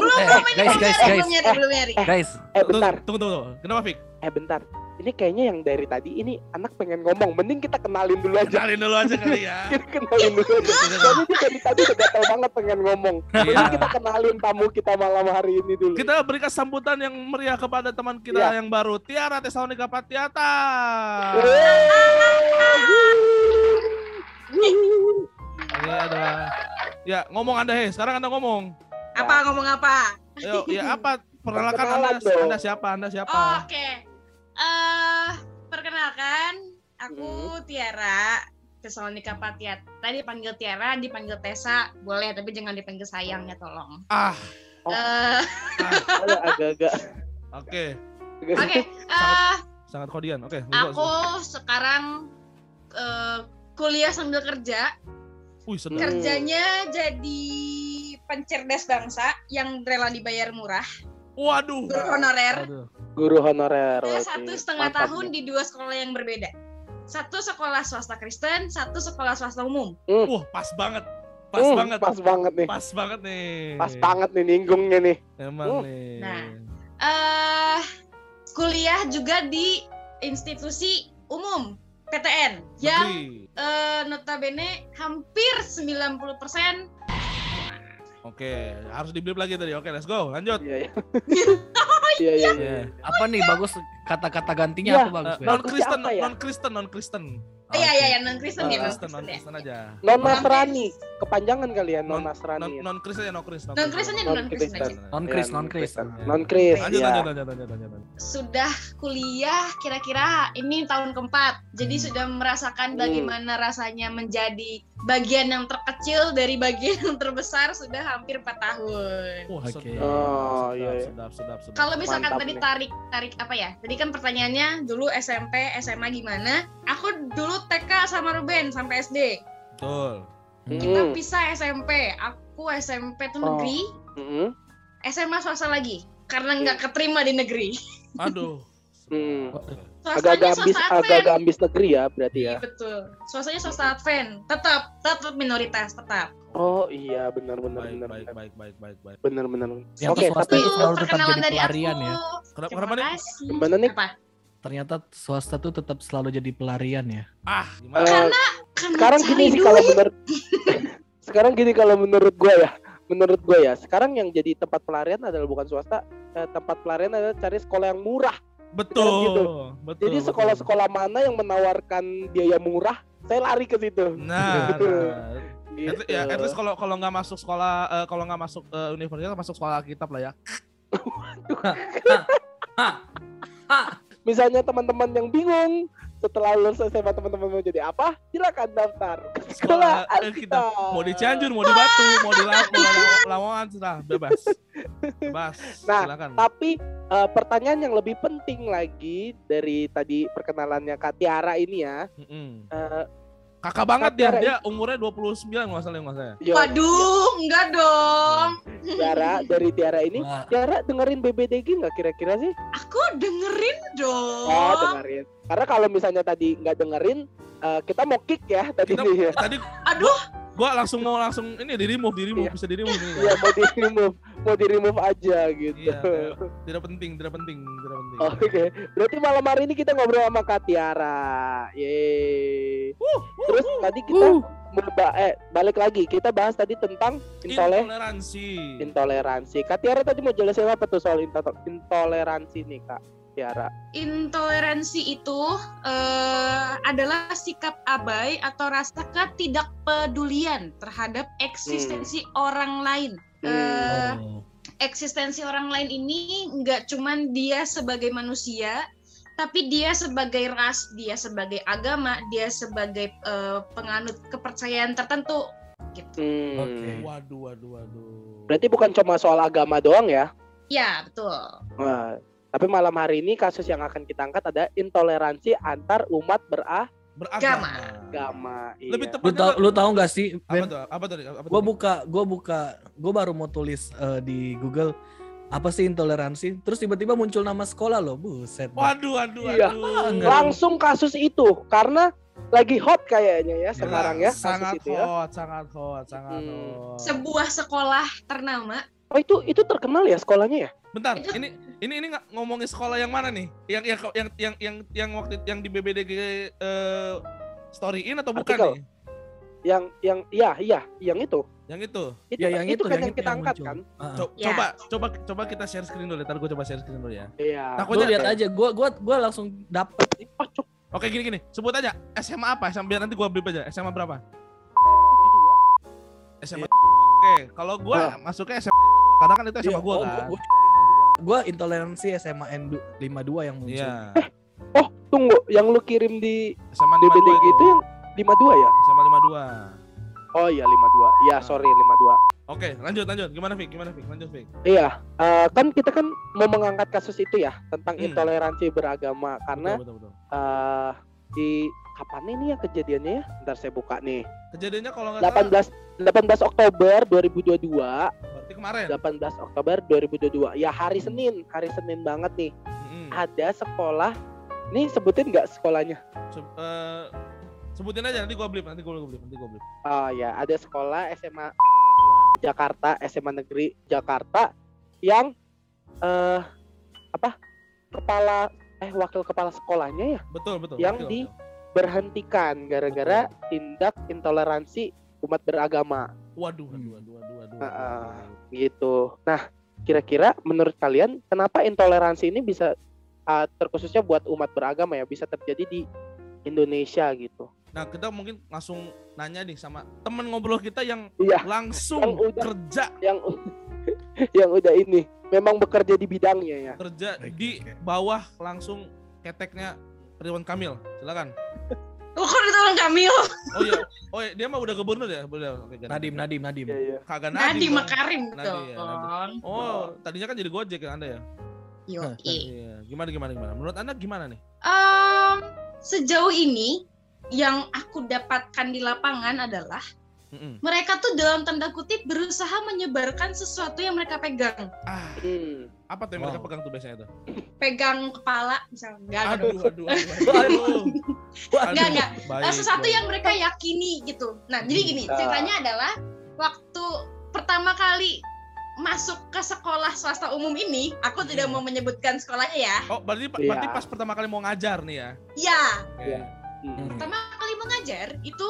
[SPEAKER 4] guys guys guys
[SPEAKER 2] Belum nyari, belum nyari.
[SPEAKER 4] guys
[SPEAKER 3] Eh
[SPEAKER 1] tunggu,
[SPEAKER 3] bentar,
[SPEAKER 1] Tunggu, tunggu, tunggu. Kenapa, Fik?
[SPEAKER 3] eh bentar. Ini kayaknya yang dari tadi ini anak pengen ngomong. Mending kita kenalin dulu aja.
[SPEAKER 1] Kenalin dulu aja kali
[SPEAKER 3] [laughs]
[SPEAKER 1] ya.
[SPEAKER 3] Kita kenalin dulu aja. Soalnya dia dari tadi udah gatel banget pengen ngomong.
[SPEAKER 1] Iya.
[SPEAKER 3] Mending kita kenalin tamu kita malam hari ini dulu.
[SPEAKER 1] Kita berikan sambutan yang meriah kepada teman kita
[SPEAKER 3] Iya.
[SPEAKER 1] yang baru, Tiara Tesanika Patiata. Ini adalah Iya, Ya, ngomong Anda, hei. Sekarang Anda ngomong.
[SPEAKER 2] Apa ngomong apa?
[SPEAKER 1] Ayo,
[SPEAKER 3] [laughs]
[SPEAKER 1] ya apa? Perkenalkan Anda,
[SPEAKER 3] Perkenalan dong.
[SPEAKER 1] Anda siapa? Anda siapa?
[SPEAKER 2] Oke. Eh perkenalkan aku Tiara Tesalonika Patiat. Tadi panggil Tiara, dipanggil Tessa boleh tapi jangan dipanggil sayangnya tolong.
[SPEAKER 1] Ah,
[SPEAKER 3] Oh.
[SPEAKER 2] Eh,
[SPEAKER 3] Agak- agak-agak.
[SPEAKER 1] oke.
[SPEAKER 2] oke. eh,
[SPEAKER 1] Sangat kodian. Oke, lanjut,
[SPEAKER 2] aku sekarang eh, kuliah sambil kerja.
[SPEAKER 1] lanjut. Wih, sedap.
[SPEAKER 3] Ker-
[SPEAKER 2] Kerjanya jadi pencerdas bangsa yang rela dibayar murah,
[SPEAKER 1] Waduh.
[SPEAKER 2] guru honorer.
[SPEAKER 4] Aduh.
[SPEAKER 3] Guru honorer.
[SPEAKER 2] Saya
[SPEAKER 3] berarti.
[SPEAKER 2] satu setengah
[SPEAKER 3] Mantap,
[SPEAKER 2] tahun
[SPEAKER 3] Bu.
[SPEAKER 2] di dua sekolah yang berbeda. Satu sekolah swasta Kristen, satu sekolah swasta umum.
[SPEAKER 1] Wah, pas banget. Pas
[SPEAKER 3] Hmm,
[SPEAKER 1] banget. Eh.
[SPEAKER 3] Pas banget nih.
[SPEAKER 1] Pas banget nih.
[SPEAKER 3] Pas banget nih ninggungnya
[SPEAKER 1] [laughs]
[SPEAKER 3] nih.
[SPEAKER 1] Emang
[SPEAKER 3] Hmm.
[SPEAKER 1] nih.
[SPEAKER 2] Nah. eh kuliah juga di institusi umum PTN yang
[SPEAKER 1] Negeri.
[SPEAKER 2] eh, notabene hampir 90%
[SPEAKER 1] Oke, harus dibeli lagi tadi. Oke, let's go. Lanjut.
[SPEAKER 3] Iya iya.
[SPEAKER 2] Oh,
[SPEAKER 3] Iya iya.
[SPEAKER 1] Iya.
[SPEAKER 3] iya.
[SPEAKER 4] Ya. Apa nih bagus kata-kata gantinya
[SPEAKER 3] Iya.
[SPEAKER 4] apa bagus?
[SPEAKER 1] Eh, non
[SPEAKER 4] Ben?
[SPEAKER 1] Kristen,
[SPEAKER 3] Siapa ya?
[SPEAKER 1] non Kristen, non Kristen. Ah,
[SPEAKER 2] eh, ya ya ya non Kristen
[SPEAKER 1] Non
[SPEAKER 2] ya non
[SPEAKER 1] Kristen, non
[SPEAKER 2] Kristen ya
[SPEAKER 1] Kristen aja.
[SPEAKER 3] Non
[SPEAKER 2] Hampir-
[SPEAKER 3] Nasrani, kepanjangan kalian non
[SPEAKER 1] Non
[SPEAKER 3] Nasrani. ya.
[SPEAKER 1] non Kristen ya, non Kristen.
[SPEAKER 2] non Kristen ya non Kristen aja
[SPEAKER 4] Non
[SPEAKER 3] Iya,
[SPEAKER 4] Chris, non Chris.
[SPEAKER 3] Non Chris.
[SPEAKER 1] Lanjut,
[SPEAKER 3] Iya.
[SPEAKER 1] lanjut, lanjut, lanjut, lanjut.
[SPEAKER 2] sudah kuliah kira-kira ini tahun keempat jadi
[SPEAKER 4] Hmm.
[SPEAKER 2] sudah merasakan
[SPEAKER 3] Hmm.
[SPEAKER 2] bagaimana rasanya menjadi bagian yang terkecil dari bagian yang terbesar sudah hampir 4 tahun
[SPEAKER 1] Wah,
[SPEAKER 4] Oke.
[SPEAKER 1] sedap,
[SPEAKER 3] Oh, iya,
[SPEAKER 1] sedap,
[SPEAKER 3] iya.
[SPEAKER 1] sedap, sedap, sedap.
[SPEAKER 2] kalau misalkan
[SPEAKER 3] Mantap
[SPEAKER 2] tadi
[SPEAKER 3] nih.
[SPEAKER 2] tarik tarik apa ya tadi kan pertanyaannya dulu SMP SMA gimana aku dulu TK sama Ruben sampai SD
[SPEAKER 1] Betul.
[SPEAKER 4] Iya.
[SPEAKER 2] kita
[SPEAKER 3] Hmm.
[SPEAKER 2] pisah SMP aku SMP tuh
[SPEAKER 3] Oh.
[SPEAKER 2] negeri
[SPEAKER 3] Mm-mm.
[SPEAKER 2] SMA swasta lagi karena nggak keterima di negeri
[SPEAKER 1] Aduh.
[SPEAKER 3] Hmm.
[SPEAKER 2] swastanya
[SPEAKER 3] Agak-agak ambis,
[SPEAKER 2] swasta Advent
[SPEAKER 3] agak-agak ambis negeri ya berarti ya.
[SPEAKER 2] Iya, betul swastanya swasta Advent tetap tetap minoritas tetap
[SPEAKER 3] Oh iya benar benar
[SPEAKER 1] Baik,
[SPEAKER 3] benar
[SPEAKER 1] baik,
[SPEAKER 3] benar.
[SPEAKER 1] baik, baik, baik, baik.
[SPEAKER 3] benar benar.
[SPEAKER 4] Yang
[SPEAKER 3] Oke
[SPEAKER 4] swasta
[SPEAKER 3] tapi
[SPEAKER 4] itu selalu tetap
[SPEAKER 2] perkenalan
[SPEAKER 4] jadi
[SPEAKER 2] dari
[SPEAKER 4] pelarian
[SPEAKER 2] aku
[SPEAKER 4] ya.
[SPEAKER 1] Kenapa,
[SPEAKER 2] terima
[SPEAKER 1] kenapa nih?
[SPEAKER 2] kasih
[SPEAKER 3] gimana nih?
[SPEAKER 2] Apa?
[SPEAKER 4] Ternyata swasta tuh tetap selalu jadi pelarian ya.
[SPEAKER 1] Ah,
[SPEAKER 3] Eh,
[SPEAKER 1] gimana?
[SPEAKER 2] Karena
[SPEAKER 3] sekarang
[SPEAKER 2] cari
[SPEAKER 3] gini sih
[SPEAKER 2] duit.
[SPEAKER 3] kalau menurut [laughs] sekarang gini kalau menurut gue ya menurut gue ya sekarang yang jadi tempat pelarian adalah bukan swasta eh, tempat pelarian adalah cari sekolah yang murah
[SPEAKER 1] betul,
[SPEAKER 3] gitu.
[SPEAKER 1] betul.
[SPEAKER 3] jadi
[SPEAKER 1] betul.
[SPEAKER 3] sekolah-sekolah mana yang menawarkan biaya murah saya lari ke situ
[SPEAKER 1] Nah, nah.
[SPEAKER 3] gitu.
[SPEAKER 1] At- ya, at least kalau kalau nggak masuk sekolah, eh, kalau nggak masuk eh, universitas, masuk sekolah kitab lah ya.
[SPEAKER 3] misalnya teman-teman yang bingung setelah lulus SMA teman-teman mau jadi apa silakan daftar ke
[SPEAKER 1] Sekolah
[SPEAKER 3] sekolah
[SPEAKER 1] eh,
[SPEAKER 3] Alkitab.
[SPEAKER 1] kitab. Mau di Cianjur, mau di Batu, mau di Lampung, mau di Lamongan, sudah bebas, bebas.
[SPEAKER 3] Nah,
[SPEAKER 1] silakan.
[SPEAKER 3] Tapi eh, pertanyaan yang lebih penting lagi dari tadi perkenalannya Kak Tiara ini ya.
[SPEAKER 1] Mm-mm.
[SPEAKER 3] eh,
[SPEAKER 1] Kakak banget dia,
[SPEAKER 3] Kakak-
[SPEAKER 1] dia umurnya 29 nggak salah ya, nggak salah.
[SPEAKER 3] yo,
[SPEAKER 2] waduh enggak dong
[SPEAKER 3] Tiara dari Tiara ini.
[SPEAKER 4] Wah,
[SPEAKER 3] Tiara dengerin BBDG nggak kira-kira sih?
[SPEAKER 2] [laughs] aku dengerin dong
[SPEAKER 3] Oh, dengerin. Karena kalau misalnya tadi nggak dengerin, eh, kita mau kick ya tadi
[SPEAKER 1] Kita-
[SPEAKER 3] nih ya.
[SPEAKER 1] Tadi
[SPEAKER 2] aduh
[SPEAKER 1] gua langsung mau langsung ini di remove, di remove,
[SPEAKER 3] Iya.
[SPEAKER 1] bisa di remove ini.
[SPEAKER 3] Iya, mau di remove, mau di remove aja gitu.
[SPEAKER 1] Iya, tidak, tidak penting, tidak penting, tidak penting.
[SPEAKER 3] Oke, berarti malam hari ini kita ngobrol sama Kak Tiara. Yeay.
[SPEAKER 1] Wuh, wuh,
[SPEAKER 3] Terus
[SPEAKER 1] wuh.
[SPEAKER 3] tadi
[SPEAKER 4] Uh.
[SPEAKER 3] kita memba- eh, balik lagi, kita bahas tadi tentang intole
[SPEAKER 1] intoleransi.
[SPEAKER 3] intoleransi. Kak Tiara tadi mau jelasin apa tuh soal into- intoleransi nih Kak Tiara?
[SPEAKER 2] intoleransi itu eh, adalah sikap abai atau rasa ketidakpedulian terhadap eksistensi orang lain.
[SPEAKER 3] Hmm.
[SPEAKER 2] Eh,
[SPEAKER 4] oh.
[SPEAKER 2] eksistensi orang lain ini nggak cuman dia sebagai manusia, tapi dia sebagai ras, dia sebagai agama, dia sebagai eh, penganut kepercayaan tertentu. Gitu.
[SPEAKER 3] Hmm.
[SPEAKER 4] Oke.
[SPEAKER 1] Waduh, waduh, waduh.
[SPEAKER 3] Berarti bukan cuma soal agama doang ya?
[SPEAKER 2] Ya betul.
[SPEAKER 1] Oh.
[SPEAKER 3] Wah, tapi malam hari ini kasus yang akan kita angkat ada intoleransi antar umat beragama.
[SPEAKER 1] beragama.
[SPEAKER 3] Iya.
[SPEAKER 1] Lebih
[SPEAKER 4] Lu
[SPEAKER 1] tepatnya
[SPEAKER 4] tau lu tahu nggak sih?
[SPEAKER 1] apa
[SPEAKER 4] Ben?
[SPEAKER 1] tuh? Apa tuh? Apa tuh?
[SPEAKER 4] Gue buka gue buka gue baru mau tulis eh, di Google apa sih intoleransi? Terus tiba-tiba muncul nama sekolah loh, buset. dah.
[SPEAKER 1] Waduh, waduh,
[SPEAKER 3] Iya.
[SPEAKER 1] waduh.
[SPEAKER 3] Langsung kasus itu karena lagi hot kayaknya ya sekarang ya kasus
[SPEAKER 1] sangat
[SPEAKER 3] itu ya.
[SPEAKER 1] hot, sangat hot, sangat
[SPEAKER 3] Hmm.
[SPEAKER 1] hot.
[SPEAKER 2] Sebuah sekolah ternama
[SPEAKER 3] Oh itu itu terkenal ya sekolahnya ya?
[SPEAKER 1] Bentar,
[SPEAKER 2] Itu-
[SPEAKER 1] ini ini ini nggak ngomongin sekolah yang mana nih? Yang yang yang yang yang, yang waktu yang di BBDG eh, story in atau bukan
[SPEAKER 3] Artikel.
[SPEAKER 1] nih?
[SPEAKER 3] Yang yang iya iya yang itu.
[SPEAKER 1] Yang itu.
[SPEAKER 3] Itu,
[SPEAKER 4] Ya, yang itu,
[SPEAKER 3] itu,
[SPEAKER 4] yang
[SPEAKER 3] kan yang
[SPEAKER 4] itu
[SPEAKER 3] kita
[SPEAKER 4] yang
[SPEAKER 3] angkat
[SPEAKER 4] muncul.
[SPEAKER 3] kan?
[SPEAKER 4] Ah, ah.
[SPEAKER 1] Co-
[SPEAKER 2] Ya.
[SPEAKER 1] Coba coba coba kita share screen dulu. Ntar gue coba share screen dulu ya.
[SPEAKER 3] Iya.
[SPEAKER 1] Takut
[SPEAKER 4] Lu lihat
[SPEAKER 3] Oke.
[SPEAKER 4] aja, gue gua gua langsung dapet nih.
[SPEAKER 3] Oh, cuk,
[SPEAKER 1] Oke gini gini, sebut aja SMA apa? SMA biar nanti gua beli aja. SMA berapa?
[SPEAKER 3] gitu ya.
[SPEAKER 1] SMA.
[SPEAKER 3] Iya.
[SPEAKER 1] Oke, kalau gua masuknya SMA karena kan itu
[SPEAKER 3] Iya.
[SPEAKER 1] SMA gua
[SPEAKER 4] Oh,
[SPEAKER 1] kan.
[SPEAKER 4] Gua, gua intoleransi SMA N 52 yang muncul.
[SPEAKER 1] Iya.
[SPEAKER 3] Eh, Tunggu, yang lu kirim di
[SPEAKER 1] SMA 52
[SPEAKER 3] DBD gitu
[SPEAKER 1] itu.
[SPEAKER 3] yang 52 ya?
[SPEAKER 1] SMA 52.
[SPEAKER 3] Oh iya 52. Iya,
[SPEAKER 1] Nah.
[SPEAKER 3] sorry 52.
[SPEAKER 1] Oke, lanjut lanjut. Gimana Fik? Gimana Fik? Lanjut Fik.
[SPEAKER 3] Iya, eh, kan kita kan mau mengangkat kasus itu ya tentang
[SPEAKER 1] Hmm.
[SPEAKER 3] intoleransi beragama karena
[SPEAKER 1] betul, betul, betul.
[SPEAKER 3] eh, di kapan ini ya kejadiannya ya? Ntar saya buka nih.
[SPEAKER 1] Kejadiannya kalau nggak salah
[SPEAKER 3] 18 18 Oktober 2022,
[SPEAKER 1] berarti kemarin.
[SPEAKER 3] 18 Oktober 2022. Ya hari
[SPEAKER 1] Hmm.
[SPEAKER 3] Senin, hari Senin banget nih.
[SPEAKER 1] Mm-mm.
[SPEAKER 3] Ada sekolah, nih sebutin nggak sekolahnya?
[SPEAKER 1] Se- eh, Sebutin aja nanti gua blip, nanti gua gua blip, nanti gua blip.
[SPEAKER 3] Oh ya, ada sekolah SMA 52 Jakarta, SMA Negeri Jakarta yang eh apa? Kepala eh wakil kepala sekolahnya ya
[SPEAKER 1] Betul, betul.
[SPEAKER 3] Yang
[SPEAKER 1] betul,
[SPEAKER 3] di-
[SPEAKER 1] betul.
[SPEAKER 3] berhentikan gara-gara tindak intoleransi umat beragama
[SPEAKER 1] waduh, waduh, waduh, waduh, waduh.
[SPEAKER 3] Ah, ah. gitu. Nah, kira-kira menurut kalian kenapa intoleransi ini bisa eh, terkhususnya buat umat beragama ya bisa terjadi di Indonesia gitu?
[SPEAKER 1] Nah, kita mungkin langsung nanya nih sama temen ngobrol kita yang
[SPEAKER 3] Iya,
[SPEAKER 1] langsung
[SPEAKER 3] Yang udah-
[SPEAKER 1] kerja
[SPEAKER 3] yang [laughs] yang udah ini memang bekerja di bidangnya ya.
[SPEAKER 1] kerja di bawah langsung keteknya Ridwan Kamil. Silakan.
[SPEAKER 2] Lu kok ditolong Kamil?
[SPEAKER 1] Oh iya, oh iya, dia mah udah gubernur ya? Udah. oke, ganti.
[SPEAKER 4] Nadim, Nadim, Nadim.
[SPEAKER 3] Iya, iya.
[SPEAKER 1] Kagak
[SPEAKER 2] Nadi
[SPEAKER 1] Nadim. Bang.
[SPEAKER 2] Makarim
[SPEAKER 1] Nadi,
[SPEAKER 2] betul.
[SPEAKER 1] ya, Oh, tadinya kan jadi Gojek ya Anda ya?
[SPEAKER 2] Yoi.
[SPEAKER 1] Iya. Gimana gimana gimana? Menurut Anda gimana nih?
[SPEAKER 2] Em, sejauh ini yang aku dapatkan di lapangan adalah
[SPEAKER 1] Mm-mm.
[SPEAKER 2] mereka tuh dalam tanda kutip berusaha menyebarkan sesuatu yang mereka pegang.
[SPEAKER 1] Ah,
[SPEAKER 3] Hmm.
[SPEAKER 1] apa tuh yang mereka
[SPEAKER 4] Wow.
[SPEAKER 1] pegang tuh biasanya tuh?
[SPEAKER 2] Pegang kepala misalnya. Enggak, enggak
[SPEAKER 1] Aduh,
[SPEAKER 2] dong.
[SPEAKER 1] aduh, aduh.
[SPEAKER 3] [laughs]
[SPEAKER 1] aduh.
[SPEAKER 2] Enggak, enggak.
[SPEAKER 1] Baik,
[SPEAKER 2] Eh, sesuatu
[SPEAKER 1] baik.
[SPEAKER 2] yang mereka yakini gitu. Nah, jadi gini,
[SPEAKER 3] Ah.
[SPEAKER 2] ceritanya adalah waktu pertama kali masuk ke sekolah swasta umum ini, aku tidak
[SPEAKER 1] Hmm.
[SPEAKER 2] mau menyebutkan sekolahnya ya.
[SPEAKER 1] Oh, berarti
[SPEAKER 3] Iya.
[SPEAKER 1] berarti pas pertama kali mau ngajar nih ya.
[SPEAKER 2] Ya,
[SPEAKER 1] Oke.
[SPEAKER 3] Iya. Hmm.
[SPEAKER 2] pertama kali mengajar itu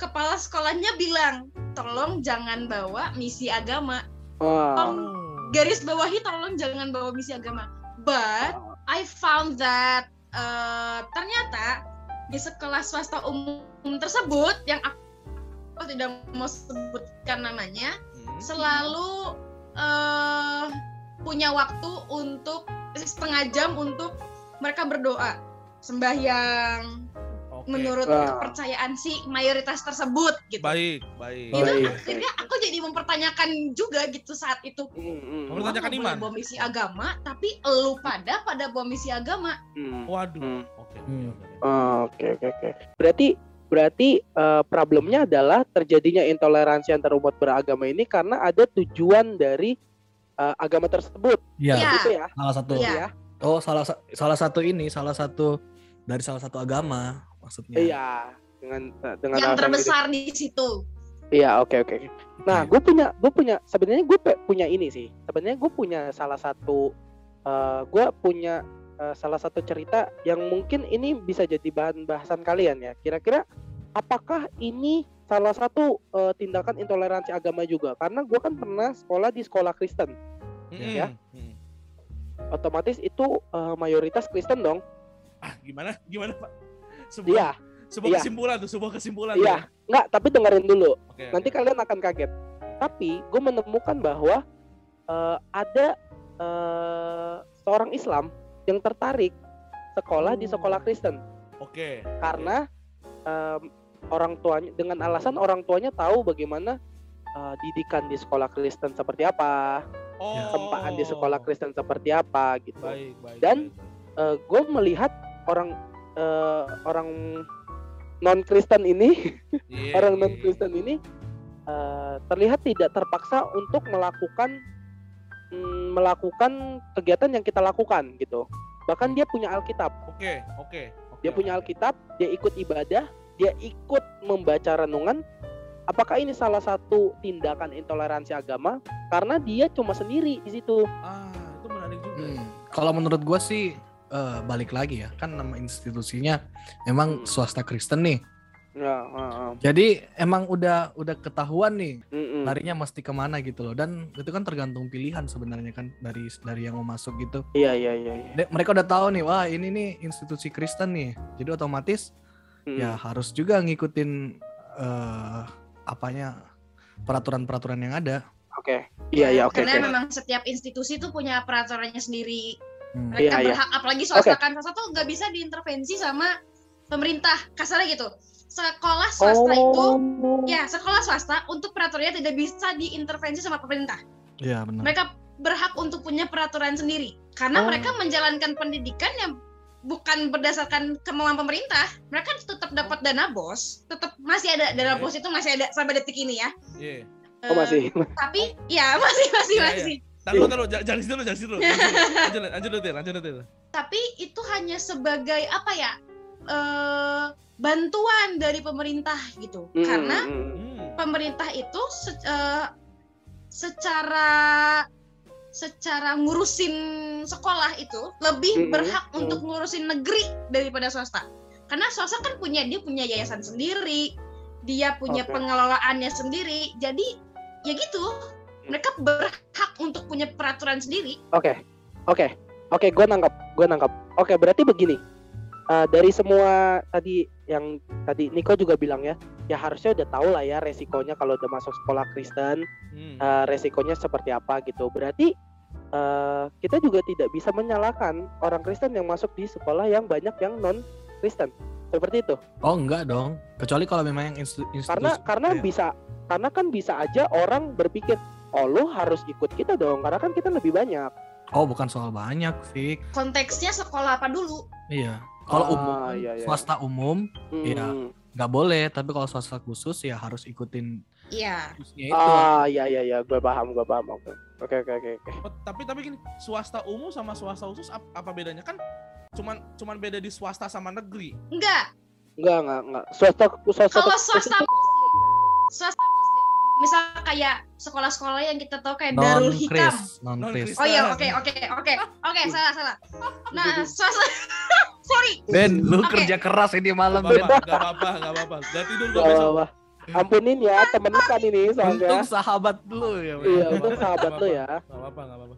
[SPEAKER 2] kepala sekolahnya bilang, "Tolong jangan bawa misi agama."
[SPEAKER 3] Oh.
[SPEAKER 2] Tolong garis bawahi tolong jangan bawa misi agama. But I found that eh, ternyata di sekolah swasta umum tersebut yang aku aku tidak mau sebutkan namanya
[SPEAKER 1] Hmm.
[SPEAKER 2] selalu eh punya waktu untuk setengah jam untuk mereka berdoa sembahyang
[SPEAKER 1] Oke.
[SPEAKER 2] menurut
[SPEAKER 3] Wah.
[SPEAKER 2] kepercayaan si mayoritas tersebut gitu.
[SPEAKER 1] Baik, baik.
[SPEAKER 3] Oh,
[SPEAKER 2] Itu
[SPEAKER 3] iya.
[SPEAKER 2] akhirnya aku jadi mempertanyakan juga gitu saat itu.
[SPEAKER 3] Hmm, hmm,
[SPEAKER 1] Menurut Mempertanyakan
[SPEAKER 2] Lu boleh
[SPEAKER 1] iman.
[SPEAKER 2] bom misi agama, tapi elu pada pada bom misi agama.
[SPEAKER 3] hmm.
[SPEAKER 1] Waduh.
[SPEAKER 3] Hmm.
[SPEAKER 1] Oke, oke,
[SPEAKER 4] Hmm.
[SPEAKER 1] oke.
[SPEAKER 3] Oh, Oke oke oke. Berarti berarti eh, problemnya adalah terjadinya intoleransi antar umat beragama ini karena ada tujuan dari eh, agama tersebut,
[SPEAKER 4] Iya,
[SPEAKER 2] Iya.
[SPEAKER 3] gitu ya?
[SPEAKER 4] salah satu.
[SPEAKER 2] Iya.
[SPEAKER 3] Iya.
[SPEAKER 4] Oh, salah sa- salah satu ini, salah satu dari salah satu agama maksudnya.
[SPEAKER 3] Iya. Dengan dengan
[SPEAKER 2] yang
[SPEAKER 3] alasan
[SPEAKER 2] terbesar di situ.
[SPEAKER 3] gitu. Iya oke oke. oke. Nah gue punya gue punya sebenarnya gue pe- punya ini sih. Sebenarnya gue punya salah satu eh, gue punya eh, salah satu cerita yang mungkin ini bisa jadi bahan bahasan kalian ya. Kira-kira apakah ini salah satu eh, tindakan intoleransi agama juga? Karena gue kan pernah sekolah di sekolah Kristen,
[SPEAKER 1] Mm-mm.
[SPEAKER 3] Ya.
[SPEAKER 1] Mm-mm.
[SPEAKER 3] otomatis itu eh, mayoritas Kristen dong.
[SPEAKER 1] Ah, gimana? Gimana, Pak? Sebuah,
[SPEAKER 3] Iya,
[SPEAKER 1] sebuah
[SPEAKER 3] Iya.
[SPEAKER 1] kesimpulan tuh, sebuah kesimpulan. tuh.
[SPEAKER 3] Iya. nggak. Tapi dengerin dulu.
[SPEAKER 1] Oke, oke.
[SPEAKER 3] Nanti kan kalian akan kaget. Tapi gue menemukan bahwa eh, ada eh, seorang Islam yang tertarik sekolah
[SPEAKER 1] Hmm.
[SPEAKER 3] di sekolah Kristen
[SPEAKER 1] Oke.
[SPEAKER 3] karena
[SPEAKER 1] Iya.
[SPEAKER 3] em, orang tuanya dengan alasan orang tuanya tahu bagaimana eh, didikan di sekolah Kristen seperti apa,
[SPEAKER 1] oh.
[SPEAKER 3] tempaan di sekolah Kristen seperti apa gitu.
[SPEAKER 1] Baik, baik. baik,
[SPEAKER 3] Dan-
[SPEAKER 1] baik.
[SPEAKER 3] gue melihat orang eh, orang non Kristen ini
[SPEAKER 1] Iya,
[SPEAKER 3] orang
[SPEAKER 1] iya,
[SPEAKER 3] non
[SPEAKER 1] iya.
[SPEAKER 3] Kristen ini eh, terlihat tidak terpaksa untuk melakukan mm, melakukan kegiatan yang kita lakukan gitu. Bahkan dia punya Alkitab,
[SPEAKER 1] Oke, oke. oke,
[SPEAKER 3] dia punya
[SPEAKER 1] oke.
[SPEAKER 3] Alkitab, dia ikut ibadah, dia ikut membaca renungan. Apakah ini salah satu tindakan intoleransi agama? Karena dia cuma sendiri di situ.
[SPEAKER 1] Ah, itu menarik juga.
[SPEAKER 4] Hmm, Kalau menurut gua sih eh, balik lagi ya, kan nama institusinya emang
[SPEAKER 3] Hmm.
[SPEAKER 4] swasta Kristen nih.
[SPEAKER 3] Ya, heeh.
[SPEAKER 4] Jadi emang udah udah ketahuan nih
[SPEAKER 3] Mm-mm.
[SPEAKER 4] larinya mesti kemana gitu loh. Dan itu kan tergantung pilihan sebenarnya kan dari dari yang mau masuk gitu.
[SPEAKER 3] Iya, iya, iya. iya.
[SPEAKER 4] De- mereka udah tahu nih, wah ini nih institusi Kristen nih. Jadi otomatis
[SPEAKER 3] Mm.
[SPEAKER 4] ya harus juga ngikutin eh, apanya peraturan-peraturan yang ada.
[SPEAKER 3] Oke. Iya, iya, oke.
[SPEAKER 2] Karena
[SPEAKER 3] oke.
[SPEAKER 2] memang setiap institusi tuh punya peraturannya sendiri.
[SPEAKER 4] Hmm.
[SPEAKER 2] Mereka
[SPEAKER 3] Iya, iya.
[SPEAKER 2] berhak apalagi swasta
[SPEAKER 3] Oke.
[SPEAKER 2] kan swasta tuh nggak bisa diintervensi sama pemerintah. Kasarnya gitu. Sekolah swasta
[SPEAKER 3] Oh.
[SPEAKER 2] itu ya sekolah swasta untuk peraturannya tidak bisa diintervensi sama pemerintah.
[SPEAKER 4] Iya benar.
[SPEAKER 2] mereka berhak untuk punya peraturan sendiri karena
[SPEAKER 3] Oh.
[SPEAKER 2] mereka menjalankan pendidikan yang bukan berdasarkan kemauan pemerintah mereka tetap dapat dana bos tetap masih ada dana
[SPEAKER 1] Oke.
[SPEAKER 2] bos itu masih ada sampai detik ini ya
[SPEAKER 1] Iya.
[SPEAKER 3] Iya. Oh, masih.
[SPEAKER 2] Eh, tapi ya [laughs] masih masih
[SPEAKER 1] Iya,
[SPEAKER 2] masih
[SPEAKER 1] Taruh, taruh, ja- jangan dulu, jangan dulu. Lanjut, lanjut, lanjut, lanjut, lanjut.
[SPEAKER 2] tapi itu hanya sebagai apa ya eh, bantuan dari pemerintah gitu
[SPEAKER 3] Mm,
[SPEAKER 2] karena
[SPEAKER 3] mm.
[SPEAKER 1] Hmm.
[SPEAKER 2] pemerintah itu se- eh, secara secara ngurusin sekolah itu lebih
[SPEAKER 3] Mm-mm.
[SPEAKER 2] berhak
[SPEAKER 3] Mm.
[SPEAKER 2] untuk ngurusin negeri daripada swasta. Karena swasta kan punya dia punya yayasan sendiri, dia punya
[SPEAKER 3] Oke.
[SPEAKER 2] pengelolaannya sendiri. Jadi ya gitu,
[SPEAKER 3] Mm.
[SPEAKER 2] mereka berhak untuk punya peraturan sendiri.
[SPEAKER 3] Oke, oke, oke. Gue nangkap, gue nangkap. Oke, berarti begini. Eh, dari semua tadi yang tadi Niko juga bilang ya, ya harusnya udah tahu lah ya resikonya kalau udah masuk sekolah Kristen,
[SPEAKER 1] Hmm.
[SPEAKER 3] eh, resikonya seperti apa gitu. Berarti eh, kita juga tidak bisa menyalahkan orang Kristen yang masuk di sekolah yang banyak yang non Kristen. Seperti itu.
[SPEAKER 4] Oh enggak dong. Kecuali kalau memang yang instu- institusi.
[SPEAKER 3] Karena karena
[SPEAKER 4] Iya.
[SPEAKER 3] bisa karena kan bisa aja orang berpikir, "Oh, lu harus ikut kita dong karena kan kita lebih banyak."
[SPEAKER 4] Oh bukan soal banyak, Fik.
[SPEAKER 2] Konteksnya sekolah apa dulu?
[SPEAKER 4] Iya. Kalau
[SPEAKER 3] Ah,
[SPEAKER 4] umum,
[SPEAKER 3] iya, iya.
[SPEAKER 4] swasta umum Iya.
[SPEAKER 3] Hmm.
[SPEAKER 4] nggak boleh. Tapi kalau swasta khusus ya harus ikutin
[SPEAKER 2] Iya.
[SPEAKER 4] kursusnya itu.
[SPEAKER 3] Ah, ya ya ya, gue paham, gue paham. Oke, oke, oke, oke. oke.
[SPEAKER 1] Oh, Tapi tapi gini, swasta umum sama swasta khusus ap- apa bedanya kan? Cuman cuman beda di swasta sama negeri.
[SPEAKER 2] Enggak,
[SPEAKER 3] Enggak, enggak, enggak. Swasta, swasta.
[SPEAKER 2] kalau swasta muslim, swasta muslim, misal kayak sekolah-sekolah yang kita tahu kayak
[SPEAKER 4] non
[SPEAKER 2] Darul Hikam.
[SPEAKER 4] Chris, non Chris.
[SPEAKER 1] Non-Chris.
[SPEAKER 2] Oh iya, oke, oke, oke, oke,
[SPEAKER 1] Iya.
[SPEAKER 2] salah, salah. Nah, swasta, [laughs] sorry,
[SPEAKER 4] Ben, lu
[SPEAKER 2] Oke.
[SPEAKER 4] kerja keras ini malam.
[SPEAKER 1] Gak
[SPEAKER 4] Ben.
[SPEAKER 1] apa-apa, gak apa-apa, gak apa-apa. Gak tidur gua
[SPEAKER 3] Wah, wah,
[SPEAKER 1] besok.
[SPEAKER 3] wah. Ya Ampunin ya, temen kan ini
[SPEAKER 4] Untung
[SPEAKER 3] soalnya.
[SPEAKER 4] sahabat lu ya. Ben.
[SPEAKER 3] Iya, untung sahabat lo ya.
[SPEAKER 1] Gak apa-apa, gak apa-apa.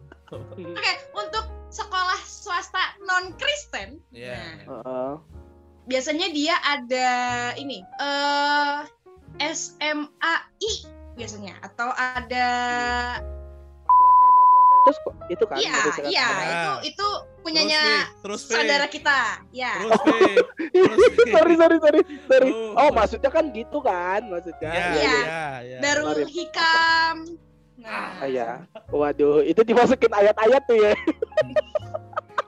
[SPEAKER 2] oke, untuk sekolah swasta non Kristen,
[SPEAKER 1] Iya.
[SPEAKER 3] Heeh.
[SPEAKER 2] biasanya dia ada ini, eh SMAI biasanya, atau ada,
[SPEAKER 3] Terus kok- itu kan?
[SPEAKER 2] iya,
[SPEAKER 3] maksudnya kan?
[SPEAKER 2] iya,
[SPEAKER 1] ada.
[SPEAKER 2] itu itu punyanya
[SPEAKER 1] terus Fi,
[SPEAKER 2] saudara kita, ya.
[SPEAKER 1] terus Fi, terus
[SPEAKER 3] [laughs]
[SPEAKER 1] Fi.
[SPEAKER 3] sorry, sorry, sorry, sorry.
[SPEAKER 1] Lu-
[SPEAKER 3] Oh, maksudnya kan gitu kan, maksudnya.
[SPEAKER 1] Iya,
[SPEAKER 2] Iya.
[SPEAKER 1] iya, iya.
[SPEAKER 2] Darul
[SPEAKER 3] Mari.
[SPEAKER 2] Hikam. Nah,
[SPEAKER 3] Ya, Ah, ya. Waduh, itu dimasukin ayat-ayat tuh ya.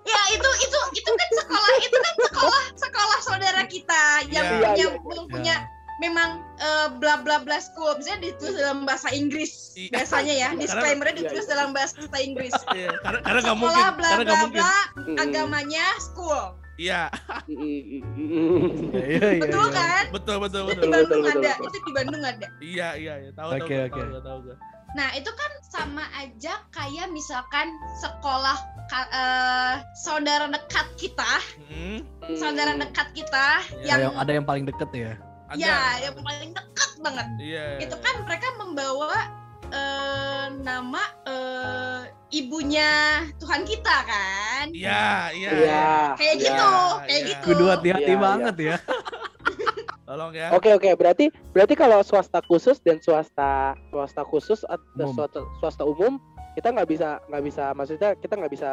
[SPEAKER 2] Ya itu itu itu kan sekolah itu kan sekolah sekolah saudara kita yang
[SPEAKER 1] Iya,
[SPEAKER 2] punya
[SPEAKER 3] iya, iya.
[SPEAKER 2] yang punya
[SPEAKER 1] Ya.
[SPEAKER 2] memang eh, bla bla bla school misalnya ditulis dalam bahasa Inggris
[SPEAKER 1] Iya.
[SPEAKER 2] biasanya ya
[SPEAKER 1] Karena-
[SPEAKER 2] disclaimernya
[SPEAKER 3] iya,
[SPEAKER 2] ditulis
[SPEAKER 3] iya.
[SPEAKER 2] dalam bahasa Inggris
[SPEAKER 1] [laughs] Iya, Karena karena gak mungkin,
[SPEAKER 2] sekolah bla
[SPEAKER 1] karena
[SPEAKER 2] bla
[SPEAKER 1] gak mungkin.
[SPEAKER 2] bla
[SPEAKER 3] Mm,
[SPEAKER 2] agamanya school
[SPEAKER 1] Iya,
[SPEAKER 3] mm, mm, mm, mm, mm.
[SPEAKER 4] Iya, iya,
[SPEAKER 2] betul
[SPEAKER 4] iya.
[SPEAKER 2] kan
[SPEAKER 1] betul betul
[SPEAKER 2] itu di
[SPEAKER 1] betul.
[SPEAKER 3] Betul, betul,
[SPEAKER 2] Bandung
[SPEAKER 3] betul,
[SPEAKER 2] ada
[SPEAKER 3] betul.
[SPEAKER 2] itu di Bandung ada
[SPEAKER 1] Iya, iya, iya. Tahu tahu
[SPEAKER 4] Oke,
[SPEAKER 1] gua,
[SPEAKER 4] oke.
[SPEAKER 1] tahu gua, tahu gua.
[SPEAKER 2] nah itu kan sama aja kayak misalkan sekolah ka- eh, saudara dekat kita
[SPEAKER 1] Hmm,
[SPEAKER 3] mm.
[SPEAKER 2] saudara dekat kita
[SPEAKER 1] Iya,
[SPEAKER 4] Ada
[SPEAKER 2] yang
[SPEAKER 4] yang ada yang paling deket ya.
[SPEAKER 1] ada.
[SPEAKER 2] ya yang paling dekat banget
[SPEAKER 1] Iya.
[SPEAKER 2] itu kan mereka membawa eh, nama eh, ibunya Tuhan kita kan
[SPEAKER 1] Iya, iya.
[SPEAKER 3] Iya.
[SPEAKER 4] Ya,
[SPEAKER 2] kayak
[SPEAKER 3] iya.
[SPEAKER 2] gitu kayak
[SPEAKER 1] iya.
[SPEAKER 2] gitu
[SPEAKER 4] Hmm. Kudu hati-hati
[SPEAKER 3] Iya, iya.
[SPEAKER 4] banget ya.
[SPEAKER 1] Tolong ya.
[SPEAKER 3] Oke oke berarti berarti kalau swasta khusus dan swasta swasta khusus atau
[SPEAKER 4] Umum.
[SPEAKER 3] swasta, swasta umum kita nggak bisa nggak bisa maksudnya kita nggak bisa